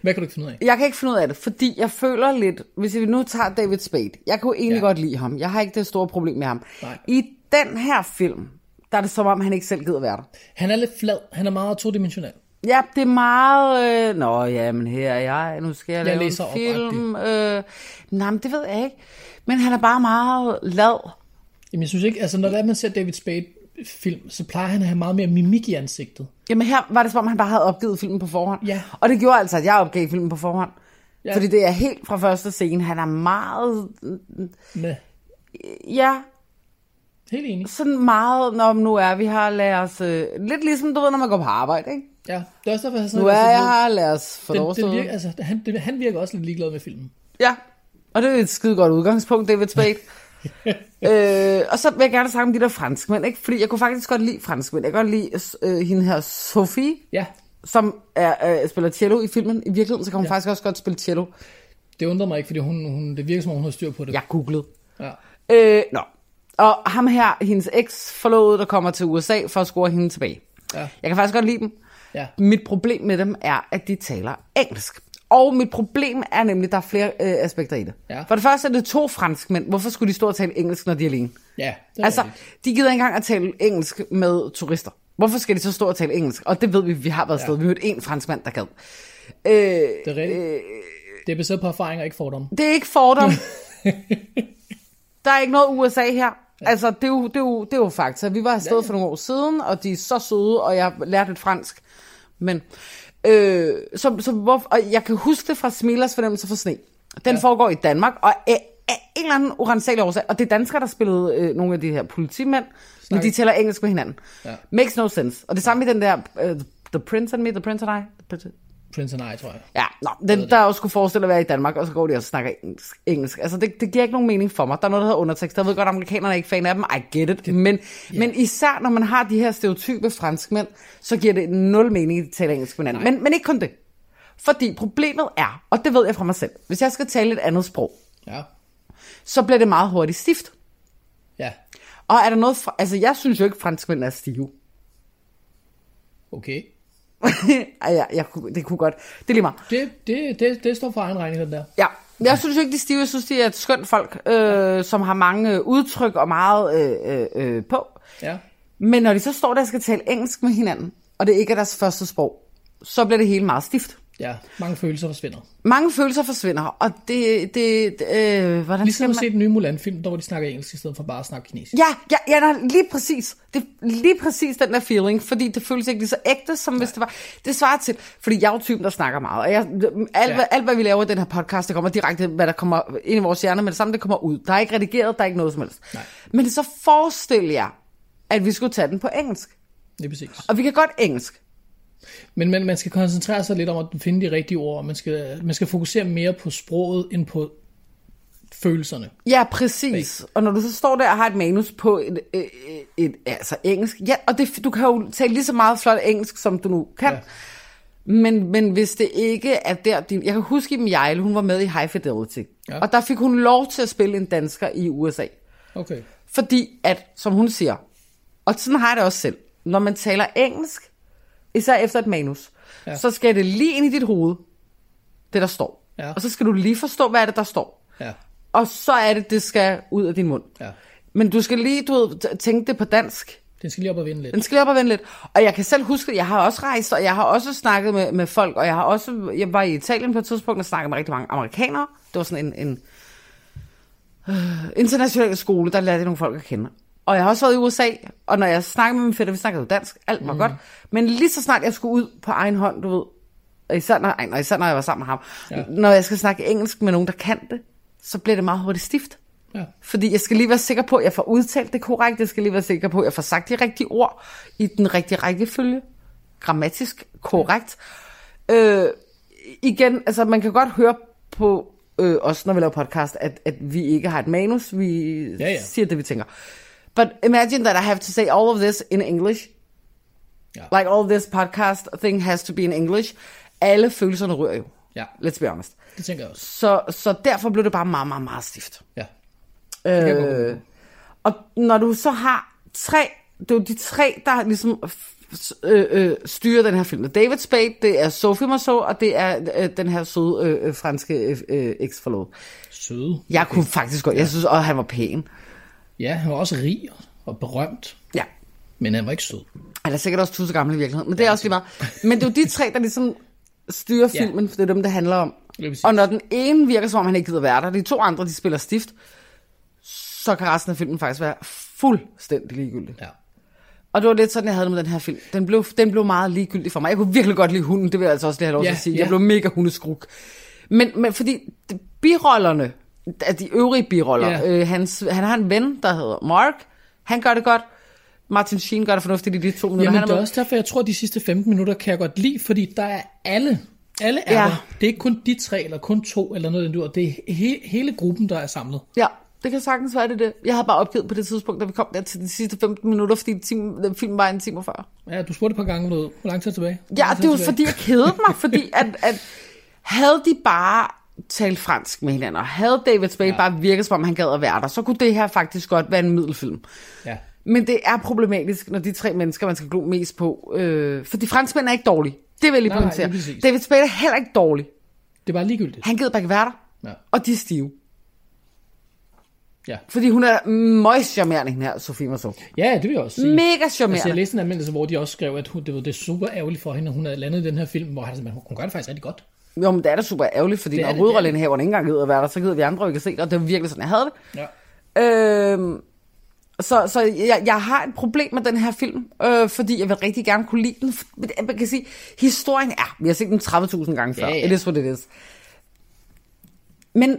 Speaker 7: Hvad kan du ikke finde ud af?
Speaker 6: Jeg kan ikke finde ud af det, fordi jeg føler lidt, hvis vi nu tager David Spade, jeg kunne egentlig
Speaker 7: Ja.
Speaker 6: ja. godt lide ham. Jeg har ikke det store problem med ham.
Speaker 7: Nej.
Speaker 6: I den her film, der er det som om, han ikke selv gider være der.
Speaker 7: Han er lidt flad. Han er meget todimensionel.
Speaker 6: Ja, det er meget... Øh, Nå, ja, men her er jeg. Nu skal jeg,
Speaker 7: Jeg
Speaker 6: lave
Speaker 7: læser op,
Speaker 6: en film. Øh, nej, men det ved jeg ikke. Men han er bare meget lad.
Speaker 7: Jamen, jeg synes ikke, altså når det er, man ser David Spade film, så plejer han at have meget mere mimik i ansigtet.
Speaker 6: Jamen her var det som om, han bare havde opgivet filmen på forhånd.
Speaker 7: Ja.
Speaker 6: Og det gjorde altså, at jeg opgav filmen på forhånd.
Speaker 7: Ja.
Speaker 6: Ja. Fordi det er helt fra første scene. Han er meget...
Speaker 7: Med
Speaker 6: Ja,
Speaker 7: helt enig.
Speaker 6: sådan meget, når nu er vi her, lad os... Øh, lidt ligesom, du ved, når man går på arbejde, ikke?
Speaker 7: Ja, det er også derfor, han sådan
Speaker 6: Nu er jeg her, lad os få lov
Speaker 7: den, den virker,
Speaker 6: at
Speaker 7: altså, han, det, han virker også lidt ligeglad med filmen. [laughs]
Speaker 6: Ja, og det er et skide godt udgangspunkt, David Spade. øh, og så vil jeg gerne snakke om de der franskmænd, ikke? Fordi jeg kunne faktisk godt lide franskmænd. Jeg kan godt lide øh, hende her, Sophie,
Speaker 7: Ja,
Speaker 6: som er, øh, spiller cello i filmen. I virkeligheden, så kan hun ja. faktisk også godt spille cello.
Speaker 7: det undrer mig ikke, fordi hun, hun, det virker som om, hun har styr på det.
Speaker 6: Jeg googlede.
Speaker 7: ja.
Speaker 6: Øh, nå. Og ham her, hendes eks forlovede, der kommer til USA for at score hende tilbage.
Speaker 7: Ja.
Speaker 6: Jeg kan faktisk godt lide dem.
Speaker 7: Ja.
Speaker 6: Mit problem med dem er, at de taler engelsk. Og mit problem er nemlig, at der er flere øh, aspekter i det.
Speaker 7: Ja.
Speaker 6: For det første er det to franskmænd. Hvorfor skulle de stå og tale engelsk, når de er alene?
Speaker 7: ja det er
Speaker 6: Altså,
Speaker 7: rigtigt.
Speaker 6: de gider ikke engang at tale engelsk med turister. Hvorfor skal de så stå og tale engelsk? Og det ved vi, vi har været afsted. Vi mødte en franskmand, der gad. Øh,
Speaker 7: Det er rigtigt. Øh, det er baseret på erfaringer, ikke fordomme. [laughs]
Speaker 6: det er ikke fordom. der er ikke noget USA her. Altså, det er jo, det er jo, det er jo fakta. Vi var afsted for nogle år siden, og de er så søde, og jeg lærte lidt fransk. Men, øh, så, så hvor, og jeg kan huske det fra Smilers fornemmelse for sne. Den ja. foregår i Danmark, og af, af en eller anden urensagelig årsag, og det er danskere, der spillede øh, nogle af de her politimænd, men de taler engelsk med hinanden.
Speaker 7: Ja.
Speaker 6: Ja. Makes no sense. Og det samme i den der, øh, The Prince and Me, The Prince and I, The Prince,
Speaker 7: Prince and I, tror jeg.
Speaker 6: Ja, nå, den, der også skulle forestille at være i Danmark, og så går de og snakker engelsk. engelsk. Altså, det, det giver ikke nogen mening for mig. Der er noget, der hedder undertekst. Jeg ved godt, at amerikanerne er ikke fan af dem. I get it. Men, men især, når man har de her stereotype franskmænd, så giver det nul mening, at de taler engelsk med hinanden. Men, men ikke kun det. Fordi problemet er, og det ved jeg fra mig selv, hvis jeg skal tale et andet sprog,
Speaker 7: Ja.
Speaker 6: så bliver det meget hurtigt stift.
Speaker 7: Ja,
Speaker 6: Og er der noget... Fra, altså, jeg synes jo ikke, at franskmænd er stive. [laughs]
Speaker 7: okay.
Speaker 6: Ej, jeg, jeg, kunne- det kunne godt. Det er lige meget.
Speaker 7: Det, det, det, det står for egen regning, den der.
Speaker 6: Ja, jeg synes jo ikke, de er stive. Jeg synes, de er et skønt folk, øh, som har mange øh, udtryk og meget øh, øh, øh, på.
Speaker 7: Ja.
Speaker 6: Men når de så står der og skal tale engelsk med hinanden, og det ikke er deres første sprog, så bliver det hele meget stift.
Speaker 7: Ja, mange følelser forsvinder.
Speaker 6: Mange følelser forsvinder, og det, det, det øh, hvordan
Speaker 7: Ligesom
Speaker 6: skal
Speaker 7: at
Speaker 6: man...
Speaker 7: se den nye Mulan-film, der hvor de snakker engelsk, i stedet for bare at snakke kinesisk.
Speaker 6: Ja, ja, ja nej, lige præcis. Det, lige præcis den der feeling, fordi det føles ikke lige så ægte, som hvis det var... Det svarer til, fordi jeg er jo typen, der snakker meget, og jeg, alt,
Speaker 7: Ja.
Speaker 6: ja. alt, hvad vi laver i den her podcast, det kommer direkte, hvad der kommer ind i vores hjerne, men det samme, det kommer ud. Der er ikke redigeret, der er ikke noget som helst.
Speaker 7: Nej.
Speaker 6: Men så forestil jer, at vi skulle tage den på engelsk.
Speaker 7: Det er præcis.
Speaker 6: Og vi kan godt engelsk.
Speaker 7: Men, men man skal koncentrere sig lidt om at finde de rigtige ord, og man skal, man skal fokusere mere på sproget end på følelserne.
Speaker 6: Ja, præcis. Og når du så står der og har et manus på et, et, et, et altså engelsk, ja, og det, du kan jo tale lige så meget flot engelsk, som du nu kan.
Speaker 7: Ja.
Speaker 6: Ja. Men, men hvis det ikke er der, din, jeg kan huske Iben Jejle, hun var med i High Fidelity,
Speaker 7: Ja.
Speaker 6: ja. og der fik hun lov til at spille en dansker i USA.
Speaker 7: Okay.
Speaker 6: Fordi at, som hun siger, og sådan har jeg det også selv, når man taler engelsk, især efter et manus,
Speaker 7: Ja.
Speaker 6: ja. så skal det lige ind i dit hoved, det der står.
Speaker 7: Ja.
Speaker 6: Og så skal du lige forstå, hvad er det, der står.
Speaker 7: Ja.
Speaker 6: Og så er det, det skal ud af din mund.
Speaker 7: Ja.
Speaker 6: Men du skal lige, du ved, t- tænke det på dansk.
Speaker 7: Den skal lige op og vinde lidt.
Speaker 6: Den skal lige op og vende lidt. Og jeg kan selv huske, at jeg har også rejst, og jeg har også snakket med, med folk, og jeg har også, jeg var i Italien på et tidspunkt og snakkede med rigtig mange amerikanere. Det var sådan en, en øh, international skole, der lærte jeg nogle folk at kende. Og jeg har også været i USA, og når jeg snakkede med min fætter, vi snakkede jo dansk, alt var mm. godt. Men lige så snart jeg skulle ud på egen hånd, du ved, og især når, ej, når, især når jeg var sammen med ham,
Speaker 7: Ja.
Speaker 6: ja. når jeg skal snakke engelsk med nogen, der kan det, så bliver det meget hurtigt stift.
Speaker 7: Ja.
Speaker 6: Fordi jeg skal lige være sikker på, at jeg får udtalt det korrekt. Jeg skal lige være sikker på, at jeg får sagt de rigtige ord i den rigtige rækkefølge. Grammatisk korrekt.
Speaker 7: Mm.
Speaker 6: Øh, igen, altså man kan godt høre på øh, os, når vi laver podcast, at, at vi ikke har et manus. Vi
Speaker 7: Ja, ja.
Speaker 6: siger det, vi tænker. But imagine that I have to say all of this in English.
Speaker 7: Ja.
Speaker 6: Like all this podcast thing has to be in English. Alle følelserne rører jo.
Speaker 7: ja.
Speaker 6: Let's be honest.
Speaker 7: Det tænker jeg også.
Speaker 6: Så, så derfor blev det bare meget, meget, meget stift.
Speaker 7: Ja. jeg godt
Speaker 6: Øh, og når du så har tre, det er jo de tre, der ligesom f- s- øh, øh, styrer den her film. Det er David Spade, det er Sophie Marceau, og det er øh, den her søde øh, øh, franske øh, øh, eksforlod.
Speaker 7: Søde.
Speaker 6: Jeg kunne faktisk godt, jeg synes, at han var pæn.
Speaker 7: Ja, han var også rig og berømt,
Speaker 6: Ja,
Speaker 7: men han var ikke sød.
Speaker 6: han er sikkert også tusse gammel i virkeligheden, men det er også lige meget. Men det er jo de tre, der ligesom styrer
Speaker 7: Ja.
Speaker 6: filmen, for det er dem, det handler om.
Speaker 7: Lige præcis.
Speaker 6: Og når den ene virker, som om han ikke gider være der, de to andre, de spiller stift, så kan resten af filmen faktisk være fuldstændig ligegyldig.
Speaker 7: Ja.
Speaker 6: Og det var lidt sådan, jeg havde det med den her film. Den blev, den blev meget ligegyldig for mig. Jeg kunne virkelig godt lide hunden, det vil jeg altså også lige have lov til
Speaker 7: Ja,
Speaker 6: at sige.
Speaker 7: ja.
Speaker 6: Jeg blev mega hundeskruk. Men, men fordi de- birollerne, af de øvrige biroller,
Speaker 7: Ja.
Speaker 6: øh, hans, han har en ven, der hedder Mark. Han gør det godt. Martin Sheen gør det fornuftigt i de to minutter.
Speaker 7: Jamen,
Speaker 6: han
Speaker 7: det er
Speaker 6: med.
Speaker 7: også derfor, jeg tror, at de sidste 15 minutter kan jeg godt lide, fordi der er alle, alle er ja.
Speaker 6: Ja.
Speaker 7: der. Det er ikke kun de tre, eller kun to, eller noget, i den dur. det er he- hele gruppen, der er samlet.
Speaker 6: Ja, det kan sagtens være det, er det. Jeg havde bare opgivet på det tidspunkt, da vi kom der til de sidste 15 minutter, fordi time, den film var en time og 40.
Speaker 7: Ja, du spurgte et par gange, du ved, hvor lang tid er tilbage? Hvor
Speaker 6: Ja,
Speaker 7: lang tid
Speaker 6: det var
Speaker 7: tilbage?
Speaker 6: fordi, jeg kedede mig, fordi at, at havde de bare talt fransk med hinanden, og havde David Spade ja. bare virket, som om han gad at være der, så kunne det her faktisk godt være en middelfilm.
Speaker 7: Ja,
Speaker 6: Men det er problematisk, når de tre mennesker, man skal glo mest på, øh, fordi franskmænd er ikke dårlige. Det vil jeg lige
Speaker 7: Nej, nej,
Speaker 6: pointere.
Speaker 7: lige præcis.
Speaker 6: David Spade er heller ikke dårlig.
Speaker 7: det er bare ligegyldigt.
Speaker 6: Han gider bare ikke være der,
Speaker 7: Ja.
Speaker 6: og de er stive.
Speaker 7: Ja.
Speaker 6: Fordi hun er møjst charmerende, hende her, Sofie Marceau.
Speaker 7: ja, det vil jeg også sige.
Speaker 6: Mega
Speaker 7: Altså, jeg
Speaker 6: charmerende.
Speaker 7: læste en anmeldelse, hvor de også skrev, at hun, det, var, det er super ærgerligt for hende, at hun havde landet i den her film, hvor han, sagde, hun, hun gør det faktisk rigtig godt.
Speaker 6: Jo, men det er da super ærgerligt, fordi
Speaker 7: Det er
Speaker 6: når
Speaker 7: det, det er det.
Speaker 6: hovedrollenhaveren ikke engang gider at være der, så gider vi andre jo ikke at se det, og det var virkelig sådan, jeg havde det.
Speaker 7: Ja.
Speaker 6: Øhm, så så jeg, jeg har et problem med den her film, øh, fordi jeg vil rigtig gerne kunne lide den. Men det- Man kan sige, historien er, vi har set den 30.000 gange før,
Speaker 7: Ja,
Speaker 6: ja,
Speaker 7: ja.
Speaker 6: ja. it is what it is. Men,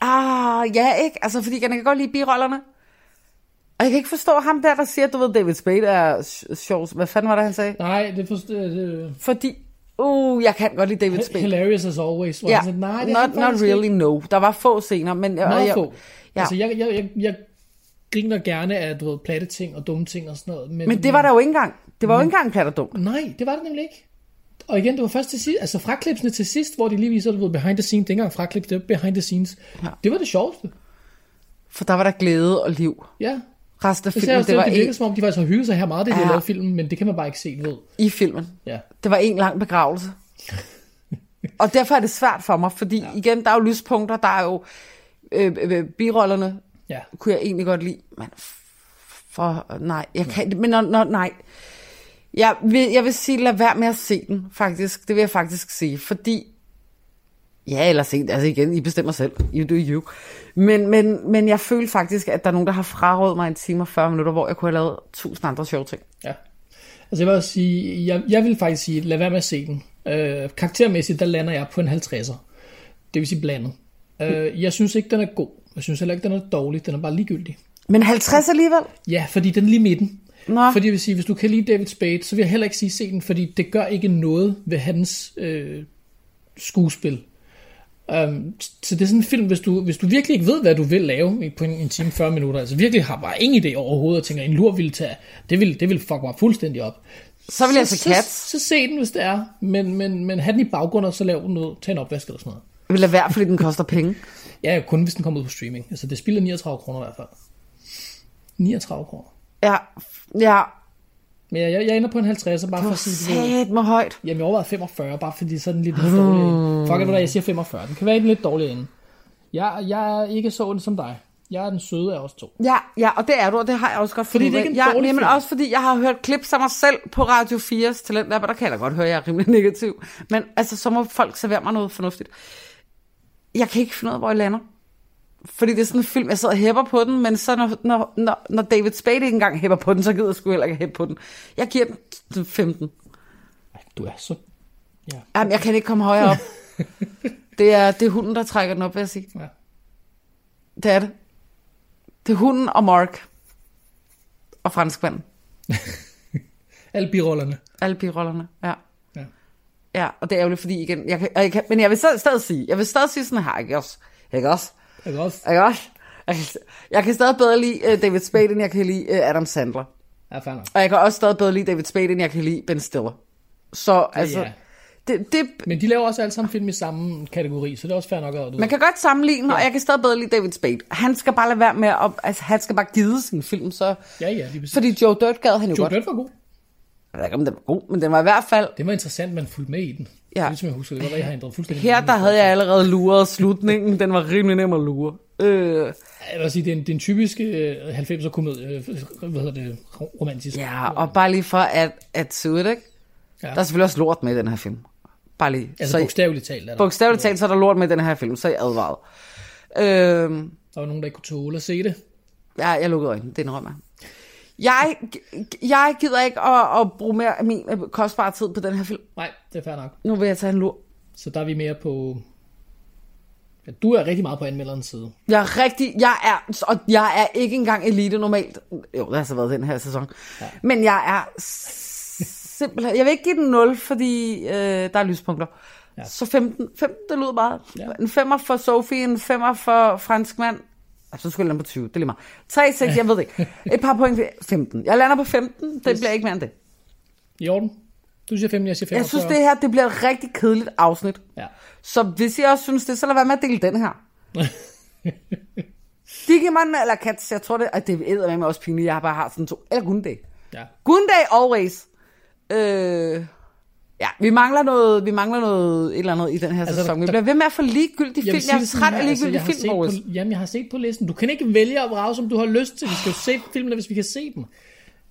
Speaker 6: ah, ja ikke, altså fordi jeg kan godt lide birollerne. Og jeg kan ikke forstå ham der, der siger, du ved, David Spade er sj- sjov. Hvad fanden var det, han sagde?
Speaker 7: Nej, det forstår det,
Speaker 6: Fordi, uh, jeg kan godt lide David Spade.
Speaker 7: Hilarious as always. Hvor
Speaker 6: Ja,
Speaker 7: han sagde, nej, det er
Speaker 6: not,
Speaker 7: han
Speaker 6: not
Speaker 7: faktisk ikke."
Speaker 6: really, no. Der var få scener, men... og
Speaker 7: Meget
Speaker 6: jeg-
Speaker 7: få. Ja.
Speaker 6: Ja.
Speaker 7: Altså, jeg, jeg, jeg, jeg griner gerne af, du ved, platte ting og dumme ting og sådan noget.
Speaker 6: Men det var der jo ikke engang. Det var jo ikke engang plat og dumt.
Speaker 7: Nej, det var det nemlig ikke. Og igen, det var først til sidst, altså fraklipsene til sidst, hvor de lige viser, du ved, behind the scenes, det er ikke engang fraklips, det er behind the scenes. Ja. Det var det sjoveste.
Speaker 6: For der var der glæde og liv.
Speaker 7: Ja.
Speaker 6: Resten af
Speaker 7: Det, sagde jeg
Speaker 6: filmen,
Speaker 7: også,
Speaker 6: det
Speaker 7: det,
Speaker 6: var
Speaker 7: det virker
Speaker 6: en,
Speaker 7: som om, de faktisk har hygget sig her meget, det de har
Speaker 6: Ja.
Speaker 7: lavet filmen, men det kan man bare ikke se, du ved.
Speaker 6: i filmen.
Speaker 7: Ja.
Speaker 6: Det var en lang begravelse. og derfor er det svært for mig, fordi ja. igen, der er jo lyspunkter, der er jo øh, øh, birollerne,
Speaker 7: Ja.
Speaker 6: kunne jeg egentlig godt lide, men f- for, nej, jeg kan, men når, når, nej, Jeg vil, jeg vil sige, lad være med at se den, faktisk. Det vil jeg faktisk sige, fordi... Ja, eller se den. Altså igen, I bestemmer selv. You do you. Men, men, men jeg følte faktisk, at der er nogen, der har frarådet mig en time og 40 minutter, hvor jeg kunne have lavet tusind andre sjove ting.
Speaker 7: Ja. Altså jeg vil også sige, jeg, jeg vil faktisk sige, lad være med at se den. Øh, karaktermæssigt, der lander jeg på en 50'er. Det vil sige blandet. Øh, jeg synes ikke, den er god. Jeg synes heller ikke, den er dårlig. Den er bare ligegyldig.
Speaker 6: Men 50 alligevel?
Speaker 7: Ja, fordi den er lige i midten.
Speaker 6: Nå.
Speaker 7: Fordi jeg vil sige, hvis du kan lide David Spade, så vil jeg heller ikke sige se den, fordi det gør ikke noget ved hans øh, skuespil. Um, så det er sådan en film, hvis du, hvis du virkelig ikke ved, hvad du vil lave i- på en, en time 40 minutter, altså virkelig har bare ingen idé overhovedet, og tænker, en lur vil tage, det vil, det vil fuck mig fuldstændig op.
Speaker 6: Så vil jeg se
Speaker 7: så,
Speaker 6: Cats.
Speaker 7: så, så, se den, hvis det er, men, men, men have den i baggrunden, og så lav den noget, tag en opvask eller sådan noget.
Speaker 6: Jeg vil lade være, fordi den koster penge.
Speaker 7: Ja, kun hvis den kommer ud på streaming. Altså det spiller 39 kroner i hvert fald. 39 kroner.
Speaker 6: Ja, ja.
Speaker 7: Men jeg, jeg, jeg ender på en 50, så bare for at sige, du ved-
Speaker 6: Sæt mig højt.
Speaker 7: Jamen, jeg overvejede 45, bare fordi sådan lidt lidt dårlig
Speaker 6: Hmm.
Speaker 7: ende. Fuck, er du hvad, jeg siger 45. Den kan være i den lidt dårlige ende. Jeg, jeg er ikke så ond som dig. Jeg er den søde af os to.
Speaker 6: Ja, ja, og det er du, og det har jeg også godt
Speaker 7: Fordi
Speaker 6: fundet
Speaker 7: det er
Speaker 6: ud af.
Speaker 7: ikke en dårlig
Speaker 6: jeg, men
Speaker 7: film.
Speaker 6: også fordi jeg har hørt klips af mig selv på Radio 4's talent, der kan jeg da godt høre, at jeg er rimelig [laughs] negativ. Men altså, så må folk servere mig noget fornuftigt. Jeg kan ikke finde ud af, hvor jeg lander. Fordi det er sådan en film, jeg sidder og hæpper på den, men så når, når, når, når David Spade ikke engang hæpper på den, så gider jeg sgu heller ikke hæppe på den. Jeg giver den 15.
Speaker 7: Ej, Du er så...
Speaker 6: Jamen, jeg kan ikke komme
Speaker 7: [laughs]
Speaker 6: højere op. Det er, det er hunden, der trækker den op, vil jeg sige.
Speaker 7: Ja.
Speaker 6: Det er det. Det er hunden og Mark. Og franskmanden.
Speaker 7: Alle birollerne.
Speaker 6: Alle birollerne, ja.
Speaker 7: Ja.
Speaker 6: Ja, og det er ærgerligt, fordi igen, jeg kan, og jeg kan, men jeg vil stadig, stadig sige, jeg vil stadig sige sådan her, ikke også? Ikke også?
Speaker 7: Jeg kan også...
Speaker 6: Ikke også? Jeg kan, jeg kan stadig bedre lide øh, David Spade, end jeg kan lide øh, Adam Sandler.
Speaker 7: Ja, fair nok.
Speaker 6: Og jeg kan også stadig bedre lide David Spade, end jeg kan lide Ben Stiller. Så altså,
Speaker 7: ja.
Speaker 6: det, det,
Speaker 7: Men de laver også alle sammen film i samme kategori, så det er også fair nok. At, du...
Speaker 6: man kan godt sammenligne, og jeg kan stadig bedre lide David Spade. Han skal bare lade være med at, altså, han skal bare gide sin film, så...
Speaker 7: Ja, ja, lige præcis.
Speaker 6: Fordi Joe Dirt gad han jo
Speaker 7: Joe
Speaker 6: godt.
Speaker 7: Dirt var god.
Speaker 6: Jeg ved ikke, om den var god, men den var i hvert fald
Speaker 7: Det var interessant, man fulgte med i den.
Speaker 6: Ja.
Speaker 7: Det er ligesom, jeg husker. Det var, jeg har ændret fuldstændig.
Speaker 6: Her der havde jeg allerede luret slutningen. Den var rimelig nem at lure. Øh,
Speaker 7: Jeg vil også sige, det er en, det er en typisk øh, 90'er komedie, øh, hvad hedder det, romantisk.
Speaker 6: ja, og bare lige for at, at se ud, ikke?
Speaker 7: Ja.
Speaker 6: Ja. Der er selvfølgelig også lort med i den her film. Bare lige.
Speaker 7: Altså bogstaveligt talt. Er der.
Speaker 6: bogstaveligt talt, så er der lort med i den her film, så er jeg advaret. Øh,
Speaker 7: der var nogen, der ikke kunne tåle at se det.
Speaker 6: ja, jeg lukkede øjnene, det indrømmer jeg. Jeg, jeg gider ikke at, at bruge mere af min øh, kostbare tid på den her film.
Speaker 7: Nej, det er fair nok.
Speaker 6: Nu vil jeg tage en lur.
Speaker 7: Så der er vi mere på... Ja, du er rigtig meget på anmelderens side.
Speaker 6: Jeg er rigtig, jeg er, og jeg er ikke engang elite normalt. Jo, det har så været den her sæson. Ja. Men jeg er simpelthen, jeg vil ikke give den 0, fordi øh, der er lyspunkter. Ja. Så 15, 15, det lyder meget.
Speaker 7: Ja.
Speaker 6: Ja. En femmer for Sofie, en femmer for franskmand. Ej, Så skulle jeg lande på 20, det er lige meget. 3, 6, jeg ved det ikke. Et par point, til 15. Jeg lander på 15, det bliver ikke mere end det.
Speaker 7: I orden? Du siger 5, jeg siger 5.
Speaker 6: Jeg synes, det her det bliver et rigtig kedeligt afsnit. [laughs]
Speaker 7: Ja.
Speaker 6: Så hvis I også synes det, så lad være med at dele den her. Digimon eller Cats, jeg tror det, og det er med også pinligt, jeg bare har sådan to. Eller Gunday.
Speaker 7: ja.
Speaker 6: Gunday always. Øh, ja, vi mangler, noget, vi mangler noget, et eller andet i den her altså, sæson. Vi
Speaker 7: der-
Speaker 6: bliver ved med at få ligegyldige
Speaker 7: vil
Speaker 6: film.
Speaker 7: sige
Speaker 6: Jeg er
Speaker 7: det sådan
Speaker 6: træt
Speaker 7: her,
Speaker 6: af ligegyldige
Speaker 7: jeg har
Speaker 6: film,
Speaker 7: set
Speaker 6: Boris.
Speaker 7: på, Jamen, jeg har set på listen. Du kan ikke vælge at brage, som du har lyst til. Vi skal jo se filmene, hvis vi kan se dem.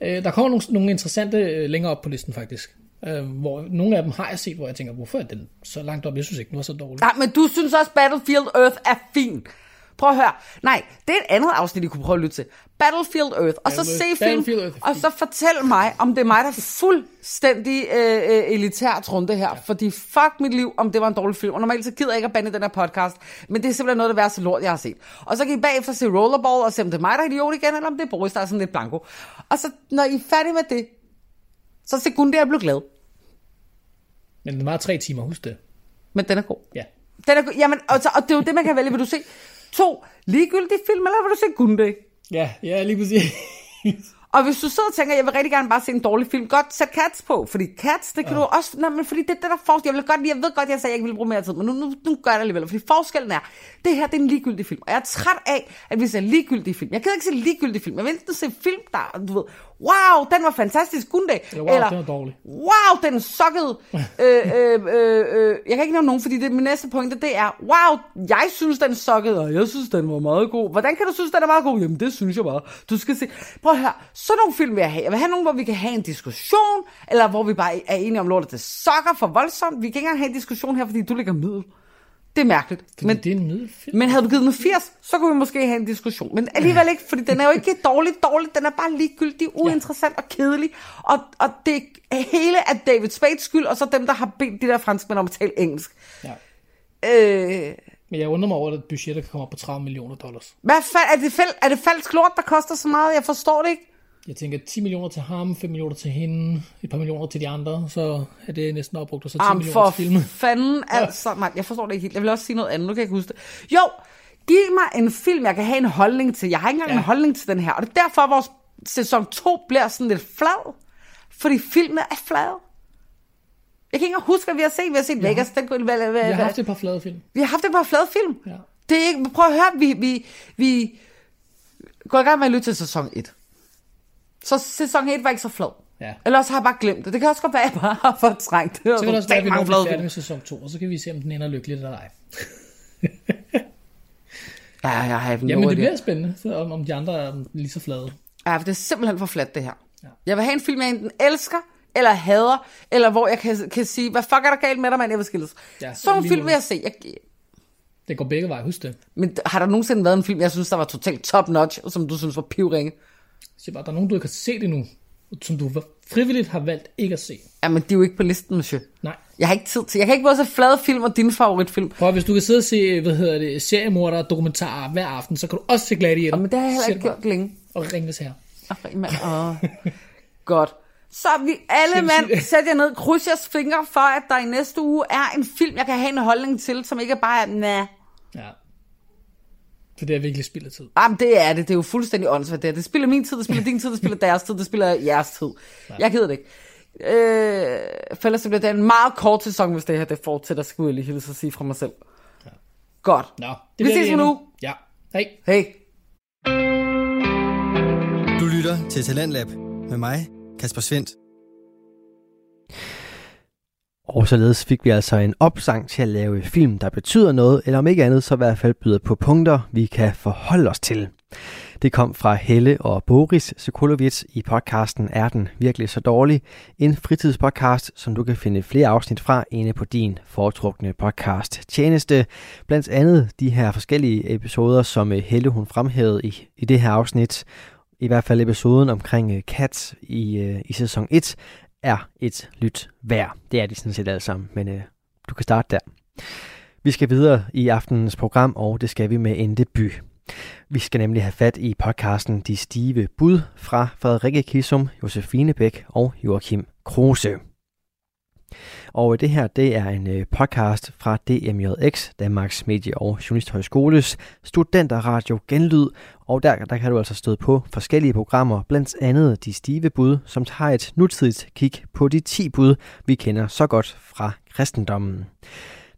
Speaker 7: Øh, der kommer nogle, nogle interessante øh, længere op på listen, faktisk. Øh, hvor nogle af dem har jeg set, hvor jeg tænker, hvorfor er den så langt op? Jeg synes ikke, den var så dårlig.
Speaker 6: Nej, men du synes også, Battlefield Earth er fin. Prøv at høre. Nej, det er et andet afsnit, I kunne prøve at lytte til. Battlefield Earth. Og så se
Speaker 7: Battlefield-
Speaker 6: film,
Speaker 7: Battlefield Earth er
Speaker 6: og
Speaker 7: fin.
Speaker 6: så fortæl mig, om det er mig, der er fuldstændig øh, øh, elitært runde her. Ja. Fordi fuck mit liv, om det var en dårlig film. Og normalt så gider jeg ikke at bande den her podcast. Men det er simpelthen noget af det værste lort, jeg har set. Og så kan I bagefter se Rollerball og se, om det er mig, der er idiot igen, eller om det er Boris, der er sådan lidt blanko. Og så, når I er færdige med det, så sekund jeg blev glad.
Speaker 7: Men den var tre timer, husk det.
Speaker 6: Men den er god.
Speaker 7: Ja.
Speaker 6: Den er, go- jamen, altså, og det er jo det, man kan vælge. Vil du se to ligegyldige film, eller vil du se Gunde?
Speaker 7: Ja, ja lige præcis.
Speaker 6: Og hvis du sidder og tænker, jeg vil rigtig gerne bare se en dårlig film, godt, sæt Cats på. Fordi Cats, det kan ja. du også... Nej, men fordi det, er det der er forskel. Jeg, vil godt, lide- jeg ved godt, jeg sagde, at jeg ikke ville bruge mere tid, men nu, nu, nu gør jeg det alligevel. Fordi forskellen er, det her det er en ligegyldig film. Og jeg er træt af, at vi ser ligegyldige film. Jeg gider ikke se ligegyldige film. Jeg vil enten se film, der, du ved, wow, den var fantastisk, Gunde.
Speaker 7: Eller, wow, den var dårlig.
Speaker 6: wow, den
Speaker 7: [laughs]
Speaker 6: suckede. øh, øh, øh, øh, jeg kan ikke nævne nogen, fordi det, min næste pointe, det er, wow, jeg synes, den suckede, og jeg synes, den var meget god. Hvordan kan du synes, den er meget god? Jamen, det synes jeg bare. Du skal se. Prøv at høre, Sådan nogle film vil jeg have. Jeg vil have nogle, hvor vi kan have en diskussion, eller hvor vi bare er enige om lortet, det sokker for voldsomt. Vi kan ikke engang have en diskussion her, fordi du ligger middel. Det er mærkeligt.
Speaker 7: Fordi [laughs] men, det er en middelfilm.
Speaker 6: Men havde du givet den 80, så kunne vi måske have en diskussion. Men alligevel ikke, fordi den er jo ikke dårlig dårlig. Den er bare ligegyldig, uinteressant og kedelig. Og, og det hele er David Spades skyld, og så dem, der har bedt de der franskmænd om at tale engelsk.
Speaker 7: Ja.
Speaker 6: Øh,
Speaker 7: Men jeg undrer mig over, at budgettet kan komme op på 30 millioner dollars.
Speaker 6: hvad fald, er, det fæl, er det falsk lort, der koster så meget? Jeg forstår det ikke.
Speaker 7: Jeg tænker 10 millioner til ham, 5 millioner til hende, et par millioner til de andre, så er det næsten opbrugt, og så 10
Speaker 6: Arm
Speaker 7: millioner
Speaker 6: for
Speaker 7: til filmen.
Speaker 6: fanden, altså. Nej, jeg forstår det ikke helt. Jeg vil også sige noget andet, nu kan jeg ikke huske det. Jo, giv mig en film, jeg kan have en holdning til. Jeg har ikke engang ja.
Speaker 7: Ja.
Speaker 6: en holdning til den her. Og det er derfor, at vores sæson 2 bliver sådan lidt flad. Fordi filmene er flade. Jeg kan ikke engang huske, hvad vi har set. Vi har set ja. Vegas. Den kunne, hvad, hvad,
Speaker 7: Jeg har
Speaker 6: hvad,
Speaker 7: haft et par flade film.
Speaker 6: vi har haft et par flade film.
Speaker 7: Ja.
Speaker 6: Det er ikke, prøv at høre, vi, vi, vi går i gang med at lytte til sæson 1. Så sæson 1 var ikke så flad.
Speaker 7: Ja.
Speaker 6: Ellers har jeg bare glemt det. Det kan også godt være, at jeg bare har fortrængt det.
Speaker 7: Så kan det også være, at vi når at blive færdige
Speaker 6: film.
Speaker 7: med sæson 2, og så kan vi se, om den ender lykkeligt eller ej.
Speaker 6: Ja, jeg har ikke
Speaker 7: Jamen,
Speaker 6: noget
Speaker 7: det
Speaker 6: idé.
Speaker 7: bliver spændende, så om, om de andre er lige så flade.
Speaker 6: Ja, for det er simpelthen for fladt, det her. Ja. Jeg vil have en film, jeg enten elsker, eller hader, eller hvor jeg kan, kan sige, hvad fuck er der galt med dig, mand, jeg vil skilles. Ja,
Speaker 7: Ja,
Speaker 6: Sådan en
Speaker 7: lige
Speaker 6: film
Speaker 7: nu.
Speaker 6: vil jeg se. Jeg,
Speaker 7: Det går begge veje, husk det.
Speaker 6: men har der nogensinde været en film, jeg synes, der var totalt top-notch, som du synes var pivringe?
Speaker 7: Så bare, der er nogen, du ikke har set endnu, som du frivilligt har valgt ikke at se.
Speaker 6: Jamen, de er jo ikke på listen, monsieur.
Speaker 7: Nej.
Speaker 6: Jeg har ikke tid til. Jeg kan ikke både se flade film og din favoritfilm.
Speaker 7: Prøv, at- hvis du kan sidde og se, hvad hedder det, seriemorder og dokumentarer hver aften, så kan du også se Gladiator.
Speaker 6: Men det har jeg heller
Speaker 7: Sæt
Speaker 6: ikke
Speaker 7: dig
Speaker 6: gjort længe.
Speaker 7: Og ringes her.
Speaker 6: Ej, mand. Åh. Godt. Så vi alle
Speaker 7: Skal vi sige
Speaker 6: mand,
Speaker 7: det?
Speaker 6: sæt jer ned, kryds jeres fingre for, at der i næste uge er en film, jeg kan have en holdning til, som ikke bare er, nah.
Speaker 7: Ja. For det er virkelig spild af tid.
Speaker 6: Jamen, det er det. Det er jo fuldstændig åndssvagt, det her. Det spiller min tid, det spiller din tid, det spiller deres tid, det spiller jeres tid. Jeg gider det ikke. Øh, for ellers så bliver det en meget kort sæson, hvis det her det fortsætter, skulle jeg lige hilse at sige fra mig selv. Godt.
Speaker 7: Nå,
Speaker 6: Vi
Speaker 7: bliver
Speaker 6: ses om en
Speaker 7: endnu.
Speaker 6: uge.
Speaker 7: Ja. Hej.
Speaker 6: Hey.
Speaker 1: Du lytter til Talentlab med mig, Kasper Svendt.
Speaker 2: Og således fik vi altså en opsang til at lave film, der betyder noget, eller om ikke andet, så i hvert fald byder på punkter, vi kan forholde os til. Det kom fra Helle og Boris Sokolovits i podcasten Er den virkelig så dårlig? En fritidspodcast, som du kan finde flere afsnit fra inde på din foretrukne podcast tjeneste. Blandt andet de her forskellige episoder, som øh, Helle hun fremhævede i, i det her afsnit. I hvert fald episoden omkring øh, Cats i, øh, i sæson 1 er et lyt værd. Det er de sådan set alle sammen, men øh, du kan starte der. Vi skal videre i aftenens program, og det skal vi med en debut. Vi skal nemlig have fat i podcasten De Stive Bud fra Frederikke Kissum, Josefine Bæk og Joachim Kruse. Og det her, det er en øh, podcast fra DMJX, Danmarks Medie- og Journalisthøjskoles Studenterradio Genlyd, og der, der kan du altså støde på forskellige programmer, blandt andet De Stive Bud, som tager et nutidigt kig på de 10 bud, vi kender så godt fra kristendommen.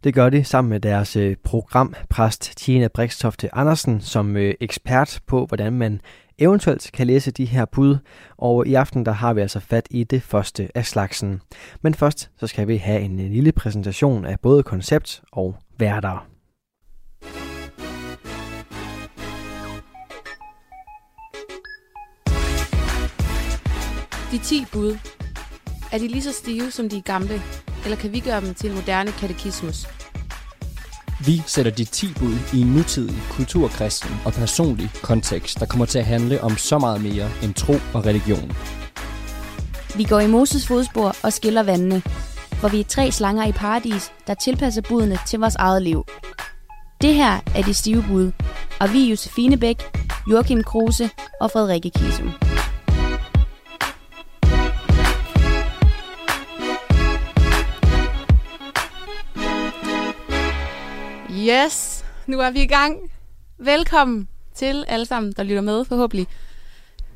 Speaker 2: Det gør de sammen med deres øh, programpræst Tina Brikstofte Andersen som øh, ekspert på, hvordan man eventuelt kan læse de her bud. Og i aften der har vi altså fat i det første af slagsen. Men først så skal vi have en øh, lille præsentation af både koncept og værter.
Speaker 10: De 10 bud. Er de lige så stive som de er gamle, eller kan vi gøre dem til en moderne katekismus?
Speaker 8: Vi sætter de 10 bud i en nutidig, kulturkristen og personlig kontekst, der kommer til at handle om så meget mere end tro og religion.
Speaker 11: Vi går i Moses fodspor og skiller vandene, for vi er tre slanger i paradis, der tilpasser budene til vores eget liv. Det her er de stive bud, og vi er Josefine Bæk, Joachim Kruse og Frederikke Kisum.
Speaker 10: Yes, nu er vi i gang. Velkommen til alle sammen, der lytter med forhåbentlig.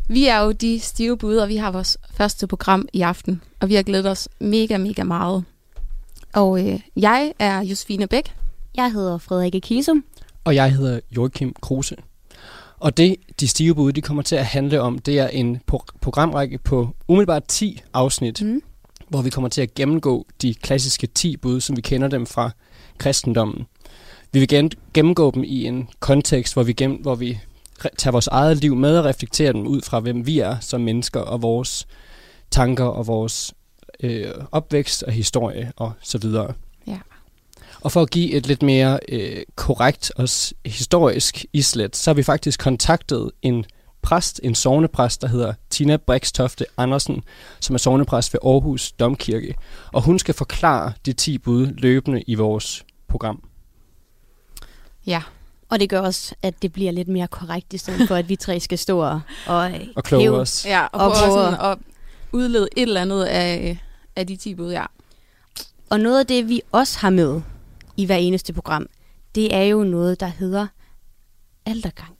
Speaker 10: Vi er jo de stive bud, og vi har vores første program i aften, og vi har glædet os mega, mega meget. Og øh, jeg er Josefine Bæk.
Speaker 11: Jeg hedder Frederikke Kisum.
Speaker 8: Og jeg hedder Joachim Kruse. Og det, de stive bud, de kommer til at handle om, det er en pro- programrække på umiddelbart 10 afsnit,
Speaker 10: Mm.
Speaker 8: mm. hvor vi kommer til at gennemgå de klassiske 10 bud, som vi kender dem fra kristendommen. Vi vil gen- gennemgå dem i en kontekst, hvor vi, gen- hvor vi re- tage vores eget liv med og reflektere dem ud fra, hvem vi er som mennesker og vores tanker og vores øh, opvækst og historie og så videre.
Speaker 10: Ja.
Speaker 8: Og for at give et lidt mere øh, korrekt og s- historisk islet, så har vi faktisk kontaktet en præst, en sovnepræst, der hedder Tina Brikstofte Andersen, som er sovnepræst ved Aarhus Domkirke. Og hun skal forklare de 10 bud løbende i vores program.
Speaker 10: Ja.
Speaker 11: Og det gør også, at det bliver lidt mere korrekt, i stedet for, at vi tre skal stå og, og, øh,
Speaker 8: Og kloge
Speaker 11: hæve-
Speaker 8: os.
Speaker 10: Ja, og, og prøve
Speaker 11: prøve-
Speaker 10: sådan at udlede et eller andet af, af de 10 bud, ja.
Speaker 11: Og noget af det, vi også har med i hver eneste program, det er jo noget, der hedder aldergang.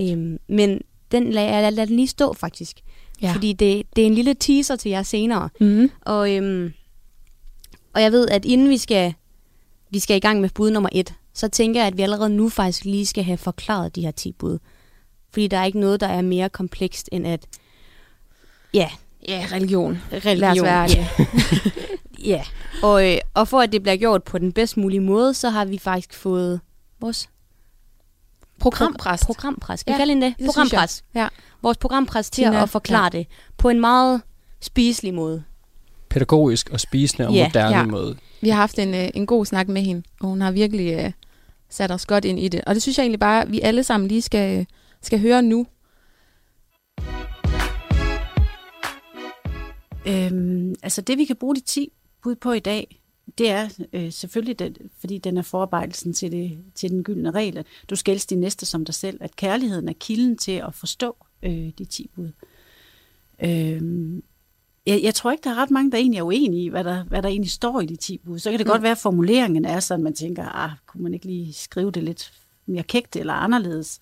Speaker 11: Øhm, men den lad, jeg lad den lige stå, faktisk.
Speaker 10: Ja.
Speaker 11: Fordi det, det er en lille teaser til jer senere.
Speaker 10: Mhm.
Speaker 11: Og, øhm, og jeg ved, at inden vi skal, vi skal i gang med bud nummer et, så tænker jeg, at vi allerede nu faktisk lige skal have forklaret de her 10 bud. Fordi der er ikke noget, der er mere komplekst, end at... Ja,
Speaker 10: Ja, religion.
Speaker 11: religion.
Speaker 10: Lad os være [laughs] ærlige.
Speaker 11: ja, og, øh, og for at det bliver gjort på den bedst mulige måde, så har vi faktisk fået vores
Speaker 10: Programpræst.
Speaker 11: programpræst. Skal vi
Speaker 10: Ja,
Speaker 11: kalde hende det?
Speaker 10: det synes
Speaker 11: Programpræst.
Speaker 10: jeg. Ja.
Speaker 11: Vores programpræst til
Speaker 10: Tina,
Speaker 11: at forklare
Speaker 10: ja.
Speaker 11: det på en meget spiselig måde.
Speaker 8: Pædagogisk og spisende og
Speaker 11: Ja,
Speaker 8: moderne
Speaker 10: ja.
Speaker 8: måde.
Speaker 10: Vi har haft en, øh, en god snak med hende, og hun har virkelig øh, sat os godt ind i det. Og det synes jeg egentlig bare, at vi alle sammen lige skal, øh, skal høre nu.
Speaker 12: Øhm, altså det, vi kan bruge de 10 bud på i dag, det er øh, selvfølgelig, den, fordi den er forarbejdelsen til, det, til den gyldne regel, at du skal elske din næste som dig selv, at kærligheden er kilden til at forstå øh, de 10 bud. Øhm, jeg, jeg tror ikke, der er ret mange, der egentlig er uenige i, hvad der, hvad der egentlig står i de 10 bud. Så kan det
Speaker 13: Mm.
Speaker 12: godt være, at formuleringen er sådan, man tænker, ah, kunne man ikke lige skrive det lidt mere kægt eller anderledes.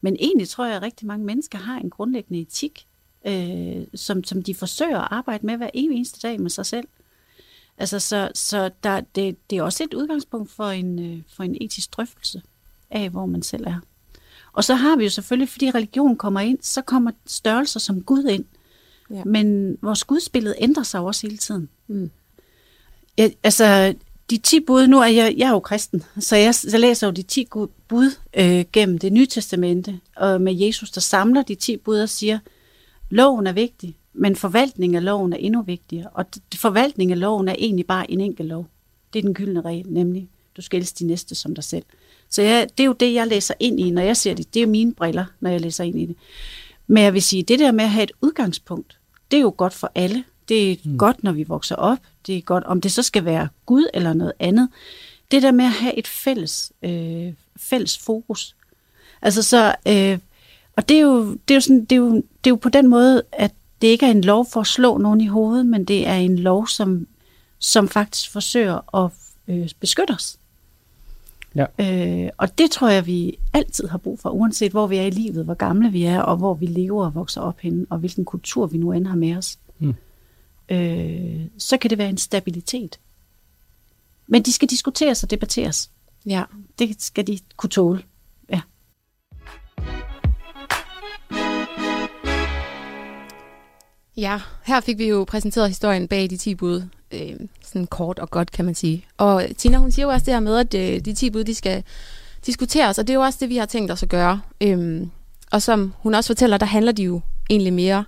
Speaker 12: Men egentlig tror jeg, at rigtig mange mennesker har en grundlæggende etik, øh, som, som de forsøger at arbejde med hver evig eneste dag med sig selv. Altså, så, så der, det, det er også et udgangspunkt for en, øh, for en etisk drøftelse af, hvor man selv er. Og så har vi jo selvfølgelig, fordi religion kommer ind, så kommer størrelser som Gud ind.
Speaker 10: Ja.
Speaker 12: Men vores gudsbillede ændrer sig jo også hele tiden. Mm. Ja, altså, de 10 bud, nu er jeg, jeg er jo kristen, så jeg, jeg læser jo de 10 gu- bud øh, gennem det nye testamente, og med Jesus, der samler de 10 bud og siger, loven er vigtig, men forvaltning af loven er endnu vigtigere. Og d- forvaltning af loven er egentlig bare en enkelt lov. Det er den gyldne regel, nemlig, du skal elske de næste som dig selv. Så jeg, det er jo det, jeg læser ind i, når jeg ser det. Det er mine briller, når jeg læser ind i det. Men jeg vil sige, det der med at have et udgangspunkt, det er jo godt for alle. Det er mm. godt, når vi vokser op. Det er godt, om det så skal være Gud eller noget andet. Det der med at have et fælles, øh, fælles fokus. Altså så, øh, og det er, jo, det, er jo sådan, det, er jo, det er jo på den måde, at det ikke er en lov for at slå nogen i hovedet, men det er en lov, som, som faktisk forsøger at øh, beskytte os.
Speaker 8: Ja.
Speaker 12: Øh, og det tror jeg, vi altid har brug for, uanset hvor vi er i livet, hvor gamle vi er, og hvor vi lever og vokser op henne, og hvilken kultur vi nu end har med os.
Speaker 8: Mm.
Speaker 12: Øh, så kan det være en stabilitet. Men de skal diskuteres og debatteres.
Speaker 10: Ja.
Speaker 12: Det skal de kunne tåle. Ja.
Speaker 10: Ja, her fik vi jo præsenteret historien bag de 10 bud. Øh, sådan kort og godt, kan man sige. Og Tina, hun siger jo også det her med, at øh, de 10 bud, de skal diskuteres, og det er jo også det, vi har tænkt os at gøre. Øhm, og som hun også fortæller, der handler de jo egentlig mere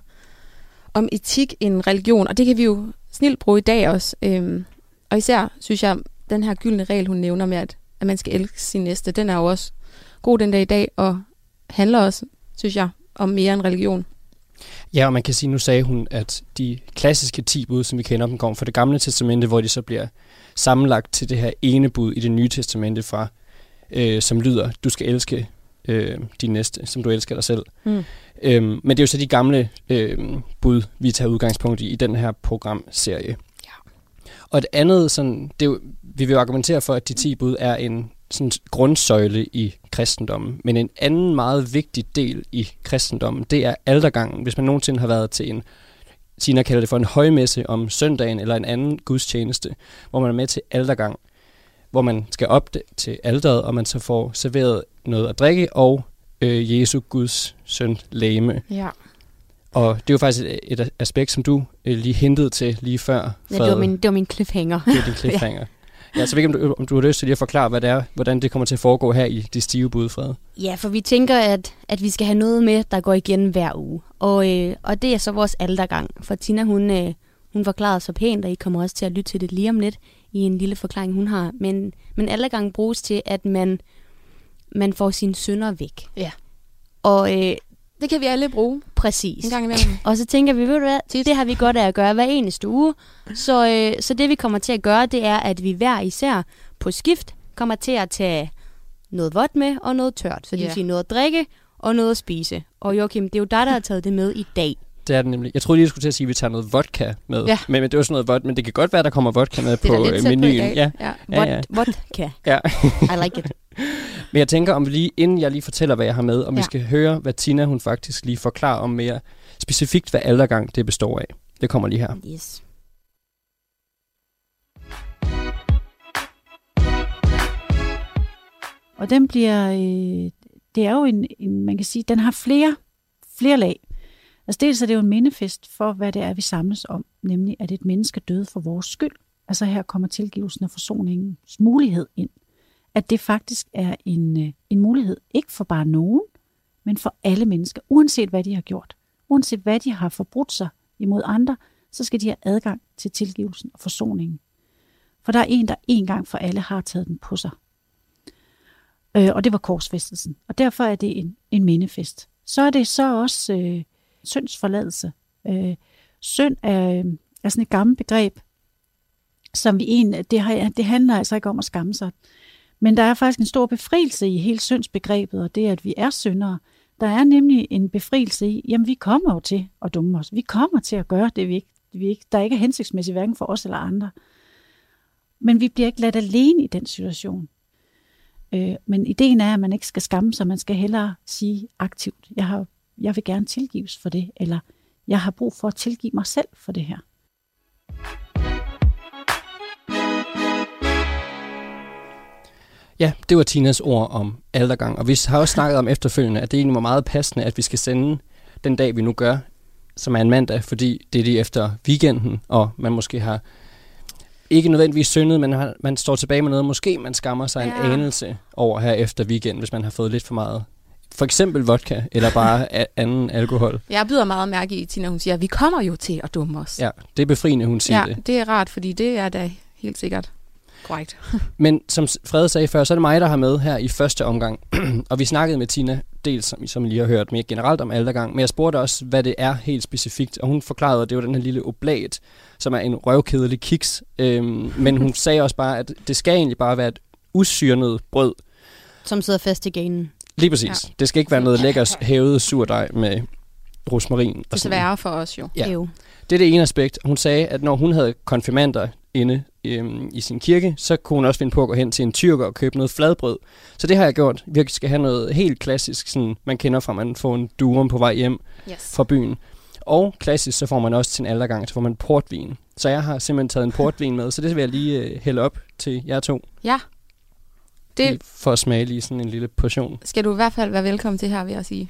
Speaker 10: om etik end religion, og det kan vi jo snilt bruge i dag også. Øhm, og især, synes jeg, den her gyldne regel, hun nævner med, at, at man skal elske sin næste, den er jo også god den dag i dag, og handler også, synes jeg, om mere end religion.
Speaker 8: Ja, og man kan sige, nu sagde hun, at de klassiske 10 bud, som vi kender dem, kommer fra det gamle testamente, hvor de så bliver sammenlagt til det her ene bud i det nye testamente fra, øh, som lyder, du skal elske øh, din næste, som du elsker dig selv.
Speaker 10: Mm.
Speaker 8: Øhm, men det er jo så de gamle øh, bud, vi tager udgangspunkt i i den her programserie. Ja. Og det andet, sådan, det er jo, vi vil jo argumentere for, at de 10 bud er en sådan, grundsøjle i kristendommen. Men en anden meget vigtig del i kristendommen, det er aldergangen. Hvis man nogensinde har været til en, Tina kalder det for en højmesse om søndagen, eller en anden gudstjeneste, hvor man er med til aldergang, hvor man skal op det- til alderet, og man så får serveret noget at drikke, og øh, Jesu Guds søn læme.
Speaker 10: Ja.
Speaker 8: Og det er jo faktisk et, et aspekt, som du øh, lige hintede til lige før.
Speaker 11: Ja, det, var
Speaker 8: Frede.
Speaker 11: min, det var min cliffhanger.
Speaker 8: Det er din cliffhanger.
Speaker 11: [laughs] ja.
Speaker 8: Ja, så jeg ved ikke, om du, om du har lyst til lige at forklare, hvad det er, hvordan det kommer til at foregå her i de stive bud, Frede.
Speaker 11: Ja, for vi tænker, at, at vi skal have noget med, der går igen hver uge. Og, øh, og det er så vores aldergang, for Tina hun, øh, hun forklarede så pænt, og I kommer også til at lytte til det lige om lidt i en lille forklaring, hun har. Men, men aldergang bruges til, at man, man får sine synder væk.
Speaker 10: Ja.
Speaker 11: Og øh,
Speaker 10: det kan vi alle bruge.
Speaker 11: Præcis.
Speaker 10: En gang imellem.
Speaker 11: Og så tænker vi, ved du hvad, det har vi godt af at gøre hver eneste uge. Så, øh, så det vi kommer til at gøre, det er, at vi hver især på skift kommer til at tage noget vådt med og noget tørt. Så det
Speaker 10: Ja.
Speaker 11: vil sige noget at drikke og noget at spise. Og Joachim, det er jo dig, der har taget det med i dag.
Speaker 8: Det er det nemlig. Jeg troede lige, jeg skulle til at sige, at vi tager noget vodka med.
Speaker 11: Ja.
Speaker 8: Men, men det var sådan noget vodka, men det kan godt være, der kommer vodka med
Speaker 11: Det er da
Speaker 8: på
Speaker 11: lidt
Speaker 8: øh,
Speaker 11: tæt på i
Speaker 8: menuen.
Speaker 11: dag.
Speaker 8: Ja.
Speaker 11: Ja.
Speaker 8: Ja, ja.
Speaker 11: Vod- vodka.
Speaker 8: Ja.
Speaker 11: I like it.
Speaker 8: men jeg tænker, om vi lige, inden jeg lige fortæller, hvad jeg har med, om ja. vi
Speaker 11: Ja.
Speaker 8: skal høre, hvad Tina hun faktisk lige forklarer om mere specifikt, hvad aldergang det består af. Det kommer lige her.
Speaker 11: Yes.
Speaker 12: Og den bliver, øh, det er jo en, en, man kan sige, den har flere, flere lag. Altså dels er det jo en mindefest for, hvad det er, vi samles om, nemlig at et menneske døde for vores skyld. Altså her kommer tilgivelsen og forsoningens mulighed ind. At det faktisk er en, øh, en mulighed, ikke for bare nogen, men for alle mennesker, uanset hvad de har gjort. Uanset hvad de har forbrudt sig imod andre, så skal de have adgang til tilgivelsen og forsoningen. For der er en, der en gang for alle har taget den på sig. Øh, og det var korsfæstelsen. Og derfor er det en, en mindefest. Så er det så også øh, syndsforladelse. Øh, synd er, øh, er sådan et gammelt begreb, som vi en, det, har, det handler altså ikke om at skamme sig. Men der er faktisk en stor befrielse i hele syndsbegrebet, og det at vi er syndere. Der er nemlig en befrielse i, jamen vi kommer jo til at dumme os. Vi kommer til at gøre det, vi ikke, vi ikke, der ikke er hensigtsmæssigt hverken for os eller andre. Men vi bliver ikke ladt alene i den situation. Øh, men ideen er, at man ikke skal skamme sig, man skal hellere sige aktivt, jeg, har, jeg vil gerne tilgives for det, eller jeg har brug for at tilgive mig selv for det her.
Speaker 8: Ja, det var Tinas ord om aldergang. Og vi har også snakket om efterfølgende, at det egentlig var meget passende, at vi skal sende den dag, vi nu gør, som er en mandag, fordi det er lige efter weekenden, og man måske har ikke nødvendigvis syndet, men har, man står tilbage med noget, måske man skammer sig ja. en anelse over her efter weekenden, hvis man har fået lidt for meget. For eksempel vodka, eller bare a- anden alkohol.
Speaker 10: Jeg bider meget mærke i, Tina, hun siger, vi kommer jo til at dumme os.
Speaker 8: Ja, det er befriende, hun siger
Speaker 10: ja
Speaker 8: det.
Speaker 10: det er rart, fordi det er da helt sikkert korrekt.
Speaker 8: Men som Frede sagde før, så er det mig, der har med her i første omgang. [clears throat] og vi snakkede med Tina, dels som, som I lige har hørt, mere generelt om aldergang, men jeg spurgte også, hvad det er helt specifikt, og hun forklarede, at det var den her lille oblat, som er en røvkedelig kiks. Øhm, men [laughs] hun sagde også bare, at det skal egentlig bare være et usyrnet brød.
Speaker 11: Som sidder fast i ganen.
Speaker 8: Lige præcis. Ja. Det skal ikke være noget lækker hævet surdej med rosmarin. og sådan
Speaker 10: Desværre for os jo.
Speaker 8: Ja.
Speaker 11: Jo.
Speaker 8: Det er det ene aspekt. Hun sagde, at når hun havde konfirmander inde øhm, i sin kirke, så kunne hun også finde på at gå hen til en tyrker og købe noget fladbrød. Så det har jeg gjort. Vi skal have noget helt klassisk, sådan man kender fra, at man får en durum på vej hjem
Speaker 10: Yes.
Speaker 8: fra byen. Og klassisk, så får man også til en aldergang, så får man portvin. Så jeg har simpelthen
Speaker 10: [laughs]
Speaker 8: taget en portvin med, så det vil jeg lige øh, hælde op til jer to,
Speaker 10: Ja.
Speaker 8: det...
Speaker 10: Det
Speaker 8: for at smage lige sådan en lille portion.
Speaker 10: skal du i hvert fald være velkommen til her, vil jeg sige.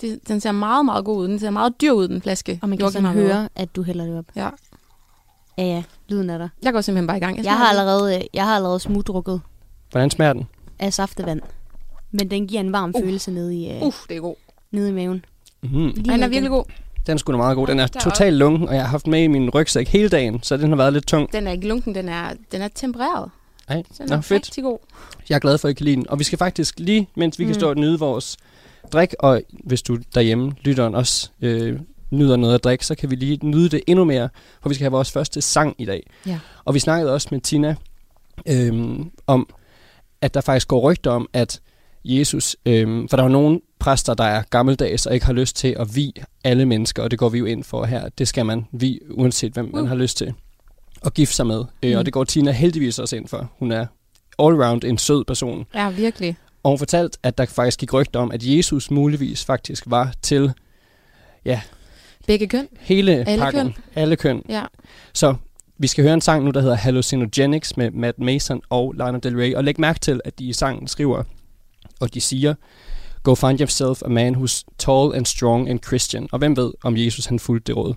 Speaker 10: Det, den ser meget, meget god ud. Den ser meget dyr ud, den flaske.
Speaker 11: Og man kan
Speaker 10: Joachim
Speaker 11: sådan
Speaker 10: har lavet.
Speaker 11: høre, at du hælder det op.
Speaker 10: Ja.
Speaker 11: Ja, ja. Lyden er der.
Speaker 10: Jeg går simpelthen bare i gang.
Speaker 11: Jeg,
Speaker 10: smager
Speaker 11: har
Speaker 10: den.
Speaker 11: allerede, øh, jeg har allerede smudrukket
Speaker 8: Hvordan smager den?
Speaker 11: af saftevand. Men den giver en varm uh. følelse nede i, uh,
Speaker 10: Uh, det er god.
Speaker 11: nede i maven.
Speaker 8: Mm.
Speaker 11: Lige
Speaker 10: Og den er
Speaker 11: ned
Speaker 10: virkelig god.
Speaker 8: Den er sgu da meget god. Den er
Speaker 10: Der er også-
Speaker 8: totalt lunken, og jeg har haft den med i min rygsæk hele dagen, så den har været lidt tung.
Speaker 10: Den er ikke lunken, den er, den er tempereret.
Speaker 8: Ej,
Speaker 10: Den
Speaker 8: nå,
Speaker 10: er
Speaker 8: fedt.
Speaker 10: rigtig god.
Speaker 8: Jeg er glad for, at I kan lide den. Og vi skal faktisk lige, mens vi mm. kan
Speaker 10: Mm.
Speaker 8: stå og nyde vores drik, og hvis du derhjemme, lytteren også, øh, nyder noget at drikke, så kan vi lige nyde det endnu mere, for vi skal have vores første sang i dag.
Speaker 10: Ja.
Speaker 8: Og vi snakkede også med Tina øhm, om, at der faktisk går rygter om, at Jesus, øhm, for der er jo nogle præster, der er gammeldags og ikke har lyst til at vi alle mennesker, og det går vi jo ind for her. Det skal man vi, uanset hvem man
Speaker 10: Uh.
Speaker 8: har lyst til at gifte sig med. Øh, Og
Speaker 10: Mm.
Speaker 8: det går Tina heldigvis også ind for. Hun er allround en sød person.
Speaker 10: Ja, virkelig.
Speaker 8: Og hun fortalte, at der faktisk gik rygter om, at Jesus muligvis faktisk var til ja,
Speaker 10: Begge køn.
Speaker 8: hele
Speaker 10: Alle
Speaker 8: pakken.
Speaker 10: køn.
Speaker 8: Alle køn.
Speaker 10: Ja.
Speaker 8: Så vi skal høre en sang nu, der hedder Hallucinogenics med Matt Mason og Lana Del Rey. Og læg mærke til, at de i sangen skriver, og de siger, Go find yourself a man who's tall and strong and Christian. Og hvem ved, om Jesus han fulgte det råd?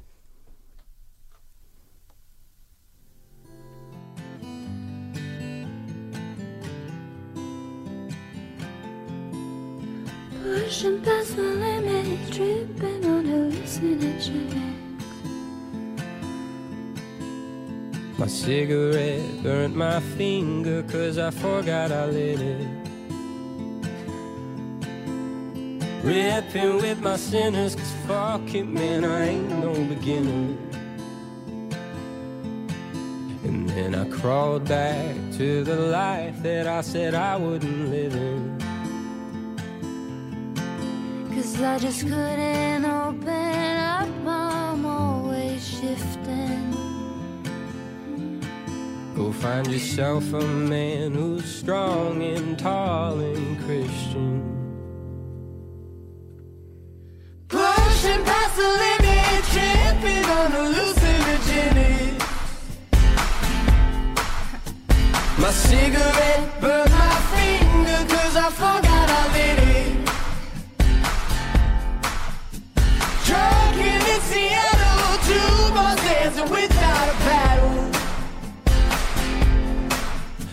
Speaker 13: Pushing past the limit, tripping on hallucinogens.
Speaker 14: My cigarette burnt my finger cause I forgot I lit it. Ripping with my sinners cause fuck it man, I ain't no beginner. And then I crawled back to the life that I said I wouldn't live in.
Speaker 13: Cause I just couldn't open up, I'm always shifting.
Speaker 14: Go find yourself a man who's strong and tall and Christian.
Speaker 13: Pushing past the limit, tripping on hallucinogens.
Speaker 14: My cigarette
Speaker 13: Burn my finger, cause I forgot I lit it. Trucking in Seattle, two more dancing without a paddle.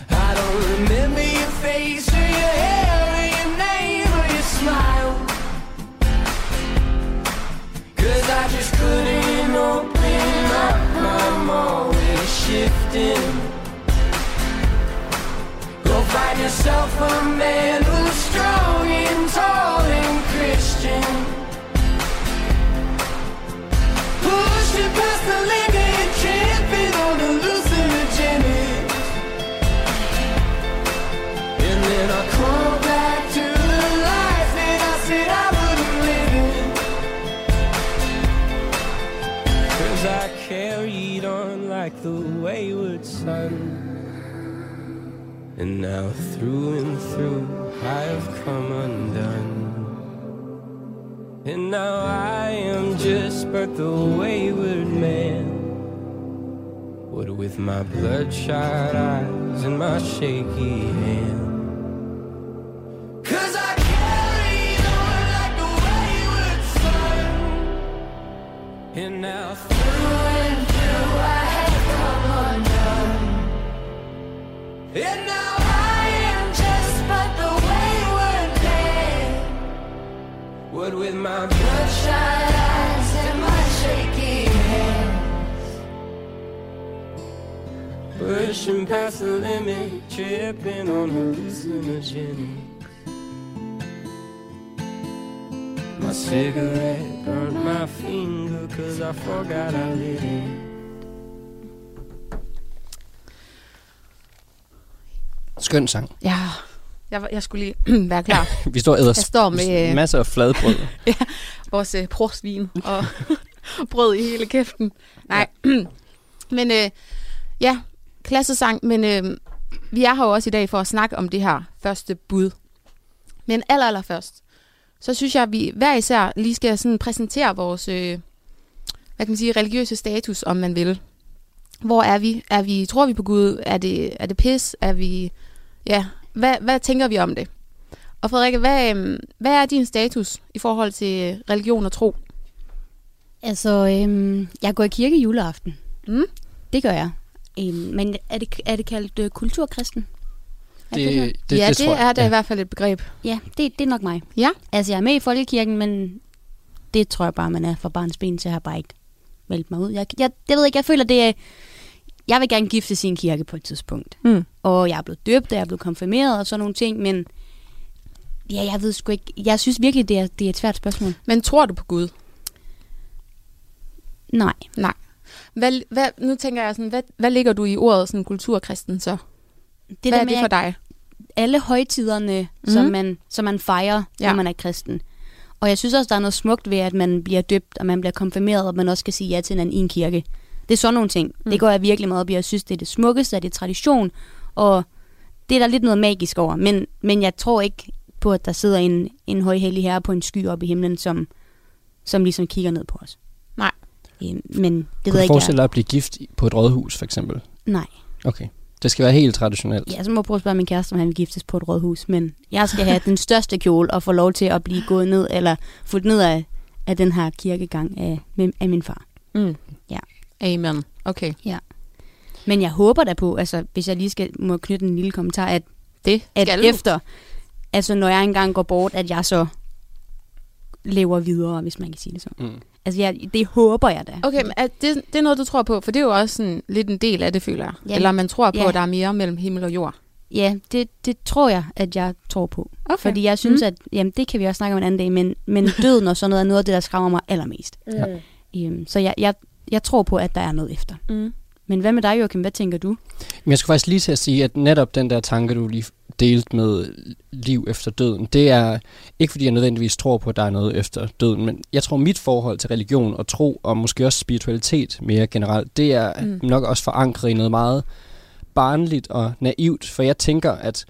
Speaker 14: I don't remember
Speaker 13: Your face or your hair or your name or your smile.
Speaker 14: Cause I just couldn't open up, I'm always shifting. Go find yourself a man who's strong and tall and Christian.
Speaker 13: Pushing past the limit, tripping on hallucinogenic.
Speaker 14: And then I
Speaker 13: Crawl back to the life that I said I wouldn't live in.
Speaker 14: Cause I carried on like the wayward son. And now through and through I have come undone. And now I am just but the wayward man. What with my bloodshot eyes and my shaky hand.
Speaker 13: Cause I carried on like the wayward son.
Speaker 14: And now
Speaker 13: Through and through I have come undone. And now I am just but the wayward man.
Speaker 14: what with my
Speaker 13: Bloodshot eyes and my shaky hand.
Speaker 14: Pushing past the limit, tripping on hallucinogenics. My cigarette burnt my finger, cause I forgot I lit it.
Speaker 8: Skøn sang.
Speaker 10: Ja, jeg, var- jeg skulle lige [clears throat] være klar.
Speaker 8: Vi står og æder
Speaker 10: Jeg står med, øh,
Speaker 8: masser af fladbrød.
Speaker 10: ja, vores øh, prosvin og [laughs] brød i hele kæften. Nej, [clears throat] men øh, ja, klassesang, men øh, vi er her jo også i dag for at snakke om det her første bud. Men aller, aller først, så synes jeg, at vi hver især lige skal sådan præsentere vores, øh, hvad kan man sige, religiøse status, om man vil. Hvor er vi? Er vi tror vi på Gud? Er det, er det pis? Er vi, ja, hvad, hvad tænker vi om det? Og Frederikke, hvad, øhm, hvad er din status i forhold til øh, religion og tro?
Speaker 11: Altså, øhm, jeg går i kirke juleaften.
Speaker 10: Mm.
Speaker 11: Det gør jeg. Øhm, men er det, er det kaldt øh, kulturkristen? Er
Speaker 8: Det-
Speaker 11: her?
Speaker 8: det- det Ja, det tror jeg, er da i ja. hvert
Speaker 10: fald et begreb.
Speaker 11: Ja, det, det er nok mig.
Speaker 10: Ja.
Speaker 11: Altså, jeg er med i folkekirken, men det tror jeg bare, man er fra barns ben, så jeg har bare ikke meldt mig ud. Jeg, jeg, jeg ved ikke, jeg føler, det er... Jeg vil gerne gifte sin kirke på et tidspunkt.
Speaker 10: Mm.
Speaker 11: Og jeg er blevet døbt, og jeg er blevet konfirmeret og sådan nogle ting, men ja, jeg ved sgu ikke. Jeg synes virkelig, det er, det er et svært spørgsmål.
Speaker 10: Men tror du på Gud?
Speaker 11: Nej.
Speaker 10: Nej. Hvad, hvad, nu tænker jeg sådan, hvad, hvad ligger du i ordet sådan, kulturkristen så?
Speaker 11: Det
Speaker 10: hvad
Speaker 11: der
Speaker 10: er
Speaker 11: med,
Speaker 10: det for
Speaker 11: at
Speaker 10: dig?
Speaker 11: Alle højtiderne, mm. som,
Speaker 10: Mhm.
Speaker 11: man, som man fejrer, ja.
Speaker 10: Ja.
Speaker 11: når man er kristen. Og jeg synes også, der er noget smukt ved, at man bliver døbt, og man bliver konfirmeret, og man også kan sige ja til hinanden i en kirke. Det er sådan nogle ting.
Speaker 10: Mhm.
Speaker 11: Mm. Det går jeg virkelig meget op i, og jeg synes, det er det smukkeste, og det er tradition, og det er der lidt noget magisk over. Men, men jeg tror ikke på, at der sidder en, en højhellig herre på en sky oppe i himlen, som, som ligesom kigger ned på os.
Speaker 10: Nej.
Speaker 11: Øhm, Men det
Speaker 8: Kunne
Speaker 11: ved
Speaker 8: du
Speaker 11: jeg ikke,
Speaker 8: forestille dig at blive gift i- på et rådhus, for eksempel?
Speaker 11: Nej.
Speaker 8: Okay. Det skal være helt traditionelt.
Speaker 11: Ja, så må jeg prøve at spørge min kæreste, om han vil giftes på et rådhus, men jeg skal have den største kjole og få lov til at blive gået ned, eller fuldt ned af, af den her kirkegang af, med- af min far.
Speaker 10: Mm.
Speaker 11: Ja.
Speaker 10: Amen. Okay.
Speaker 11: Ja. Men jeg håber da på, altså hvis jeg lige skal, må knytte en lille kommentar, at
Speaker 10: det
Speaker 11: at
Speaker 10: skal du.
Speaker 11: efter, altså når jeg engang går bort, at jeg så
Speaker 15: lever videre, hvis man kan sige det sådan. Mm. Altså, jeg, det håber jeg da.
Speaker 10: Okay, men er det, det er noget, du tror på, for det er jo også sådan, lidt en del af det, føler jeg. Ja. Eller man tror på, ja. at der er mere mellem himmel og jord.
Speaker 15: Ja, det, det tror jeg, at jeg tror på. Okay. Fordi jeg synes, mm. at jamen, det kan vi også snakke om en anden dag, men,
Speaker 10: [laughs]
Speaker 15: men døden og sådan noget er noget af det, der skræmmer mig allermest.
Speaker 10: Ja.
Speaker 15: Øhm, så jeg, jeg, jeg tror på, at der er noget efter.
Speaker 10: Mm.
Speaker 15: Men hvad med dig, Joachim? Hvad tænker du?
Speaker 8: Men jeg skulle faktisk lige til at sige, at netop den der tanke, du lige delte med liv efter døden, det er ikke fordi, jeg nødvendigvis tror på, at der er noget efter døden, men jeg tror, mit forhold til religion og tro, og måske også spiritualitet mere generelt, det er
Speaker 10: Mm.
Speaker 8: mm. nok også forankret i noget meget barnligt og naivt, for jeg tænker, at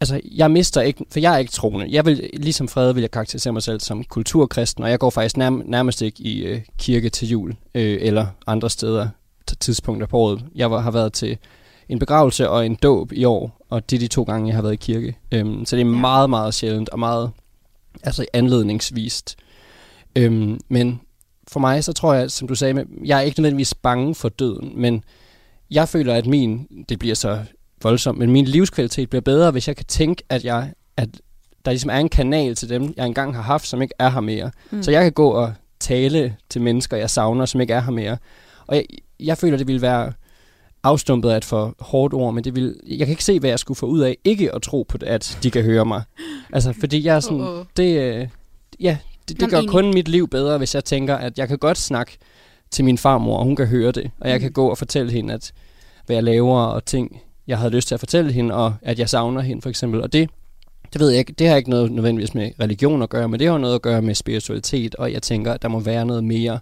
Speaker 8: altså, jeg mister ikke, for jeg er ikke troende. Jeg vil, ligesom Frede, vil jeg karakterisere mig selv som kulturkristen, og jeg går faktisk nærm- nærmest ikke i øh, kirke til jul, øh, eller andre steder, t- tidspunkter på året. Jeg var, har været til en begravelse og en dåb i år, og det er de to gange, jeg har været i kirke. Øhm, så det er meget, meget sjældent, og meget altså anledningsvist. Øhm, men for mig, så tror jeg, som du sagde, med- jeg er ikke nødvendigvis bange for døden, men jeg føler, at min, det bliver så voldsomt, men min livskvalitet bliver bedre, hvis jeg kan tænke, at jeg, at der ligesom er en kanal til dem, jeg engang har haft, som ikke er her mere.
Speaker 10: Mm.
Speaker 8: Mm. Så jeg kan gå og tale til mennesker, jeg savner, som ikke er her mere. Og jeg, jeg føler, det ville være afstumpet af et for hårdt ord, men det ville, jeg kan ikke se, hvad jeg skulle få ud af ikke at tro på, at de kan høre mig. Altså, fordi
Speaker 10: [laughs]
Speaker 8: jeg er sådan,
Speaker 10: Uh-oh.
Speaker 8: uh-uh. det, øh, ja, det,
Speaker 10: Nå,
Speaker 8: det gør
Speaker 10: enig.
Speaker 8: kun mit liv bedre, hvis jeg tænker, at jeg kan godt snakke til min farmor, og hun kan høre det, og jeg kan gå og fortælle hende, at hvad jeg laver og ting, jeg havde lyst til at fortælle hende, og at jeg savner hende for eksempel. Og det, det ved jeg ikke, det har ikke noget nødvendigvis med religion at gøre, men det har noget at gøre med spiritualitet, og jeg tænker, at der må være noget mere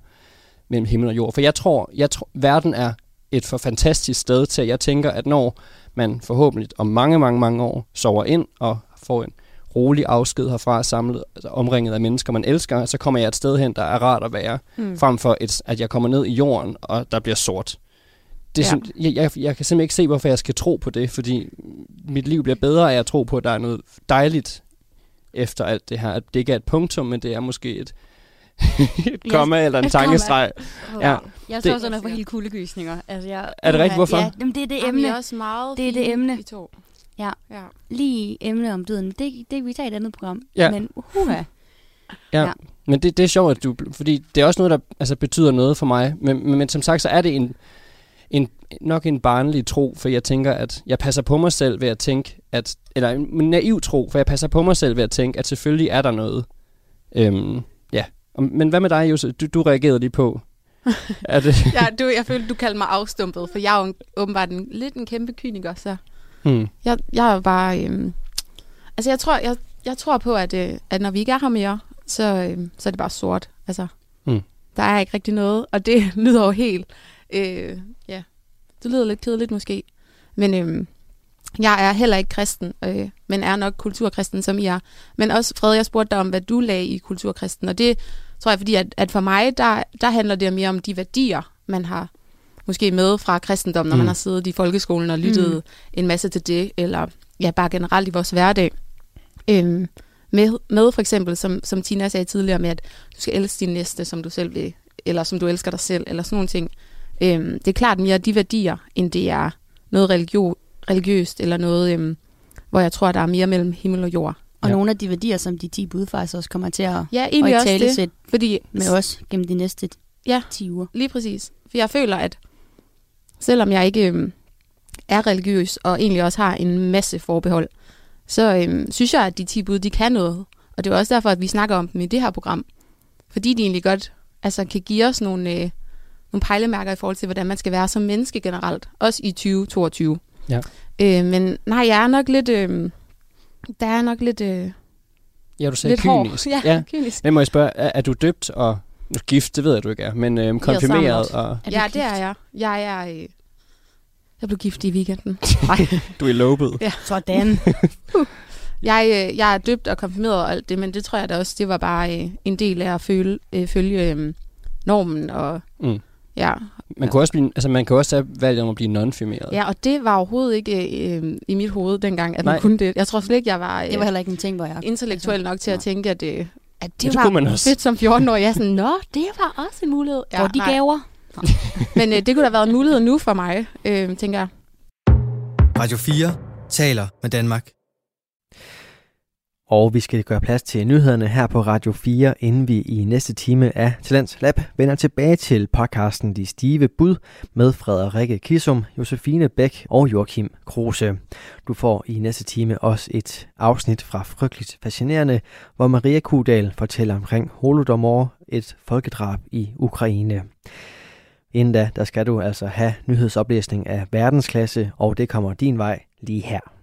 Speaker 8: mellem himmel og jord. For jeg tror, jeg tror verden er et for fantastisk sted til, at jeg tænker, at når man forhåbentlig om mange, mange, mange år sover ind og får en rolig afsked herfra, samlet altså omringet af mennesker, man elsker, så kommer jeg et sted hen, der er rart at være,
Speaker 10: Mm.
Speaker 8: mm. frem for et, at jeg kommer ned i jorden, og der bliver sort. Det er
Speaker 10: Ja.
Speaker 8: ja. jeg, jeg, jeg kan simpelthen ikke se, hvorfor jeg skal tro på det, fordi mit liv bliver bedre af at tro på, at der er noget dejligt efter alt det her. At det ikke er et punktum, men det er måske et, [laughs] et komma eller en
Speaker 15: Et komma.
Speaker 8: tankestreg.
Speaker 15: Ja. Jeg så
Speaker 8: Det-
Speaker 15: også noget for hele kuldegysninger. Altså, jeg,
Speaker 8: Er det rigtigt? Hvorfor?
Speaker 15: Ja, jamen, det er det
Speaker 10: Jamen, I
Speaker 15: emne.
Speaker 10: er også meget
Speaker 15: det er det
Speaker 10: fine,
Speaker 15: emne.
Speaker 10: I to.
Speaker 15: Ja.
Speaker 10: Ja.
Speaker 15: Lige emne om døden. Det, det kan vi tage i et andet program.
Speaker 8: Ja.
Speaker 15: Men uha.
Speaker 8: Ja.
Speaker 15: Ja.
Speaker 8: ja. Men det, det er sjovt, at du... Fordi det er også noget, der altså, betyder noget for mig. Men, men, men som sagt, så er det en, en, nok en barnlig tro, for jeg tænker, at jeg passer på mig selv ved at tænke, at... Eller en en naiv tro, for jeg passer på mig selv ved at tænke, at selvfølgelig er der noget. Øhm, ja. Og- Men hvad med dig, Jose? Du, du reagerede lige
Speaker 10: [laughs]
Speaker 8: på... Er det,
Speaker 10: ja, du, jeg følte, du kaldte mig afstumpet, for jeg er jo en, åbenbart en, lidt en kæmpe kyniker, så
Speaker 8: hmm.
Speaker 10: jeg, jeg er bare... Øhm, altså, jeg tror, jeg, jeg tror på, at, øh, at når vi ikke er her mere, så, øhm, så er det bare sort. Altså,
Speaker 8: Mm.
Speaker 10: der er ikke rigtig noget, og det [laughs] lyder jo helt... Øh, ja, det lyder lidt kedeligt måske. Men øhm, jeg er heller ikke kristen, øh, men er nok kulturkristen, som I er. Men også, Fred, jeg spurgte dig om, hvad du lagde i kulturkristen, og det tror jeg, fordi at, at for mig, der, der handler det mere om de værdier, man har måske med fra kristendommen, når mm. man
Speaker 15: Mm.
Speaker 10: har siddet i folkeskolen og lyttet
Speaker 15: Mm.
Speaker 10: mm. en masse til det, eller ja, bare generelt i vores hverdag. Øhm, med, med for eksempel, som, som Tina sagde tidligere, med at du skal elske din næste, som du selv vil, eller som du elsker dig selv, eller sådan nogle ting. Øhm, det er klart mere de værdier, end det er noget religio, religiøst, eller noget, øhm, hvor jeg tror, der er mere mellem himmel og jord.
Speaker 15: Og nogle af de værdier, som de 10 bud faktisk også kommer til at,
Speaker 10: Ja, egentlig
Speaker 15: at
Speaker 10: også det,
Speaker 15: talesætte
Speaker 10: fordi-
Speaker 15: med os gennem de næste
Speaker 10: ja,
Speaker 15: 10 uger.
Speaker 10: Lige præcis. For jeg føler, at selvom jeg ikke øhm, er religiøs, og egentlig også har en masse forbehold, så øhm, synes jeg, at de 10 bud, de kan noget. Og det er jo også derfor, at vi snakker om dem i det her program. Fordi de egentlig godt altså, kan give os nogle, øh, nogle pejlemærker i forhold til, hvordan man skal være som menneske generelt. Også i 2022.
Speaker 8: Ja.
Speaker 10: Øh, men nej, jeg er nok lidt... Øh, der er nok lidt... Øh,
Speaker 8: Ja, du sagde
Speaker 10: Lidt hård.
Speaker 8: kynisk.
Speaker 10: Ja, kynisk.
Speaker 8: Men må jeg spørge, er, er du døbt og... Nu gift, det ved jeg, du ikke er, men øhm, konfirmeret og...
Speaker 10: ja, det er jeg. Jeg er... Øh, jeg blev gift i weekenden.
Speaker 8: du er lobet.
Speaker 10: Ja.
Speaker 15: Sådan.
Speaker 10: jeg, øh, jeg er døbt og konfirmeret og alt det, men det tror jeg da også, det var bare øh, en del af at føle, øh, følge øh, normen. Og,
Speaker 8: Mm.
Speaker 10: ja.
Speaker 8: Man, kunne også blive, altså, man kan også have valget om at blive nonfirmeret.
Speaker 10: ja, og det var overhovedet ikke øh, i mit hoved dengang, at man
Speaker 8: Nej.
Speaker 10: kunne det. Jeg tror slet ikke, jeg var... Øh, [laughs]
Speaker 15: Det var heller ikke en ting, hvor jeg...
Speaker 10: intellektuel nok til at tænke, at, øh, at det,
Speaker 15: det
Speaker 10: var
Speaker 15: kunne man også.
Speaker 10: fedt som 14-årig. Jeg er sådan, nå, det
Speaker 11: [laughs]
Speaker 10: var også en mulighed.
Speaker 15: Får de gaver?
Speaker 10: Men øh, det kunne da have været en mulighed nu for mig, øh, tænker jeg.
Speaker 1: Radio 4 taler med Danmark.
Speaker 2: Og vi skal gøre plads til nyhederne her på Radio 4, inden vi i næste time af Talents Lab vender tilbage til podcasten De Stive Bud med Frederikke Kisum, Josefine Bæk og Joachim Kruse. Du får i næste time også et afsnit fra Frygteligt Fascinerende, hvor Maria Kudal fortæller omkring Holodomor, et folkedrab i Ukraine. Inden da, der skal du altså have nyhedsoplæsning af verdensklasse, og det kommer din vej lige her.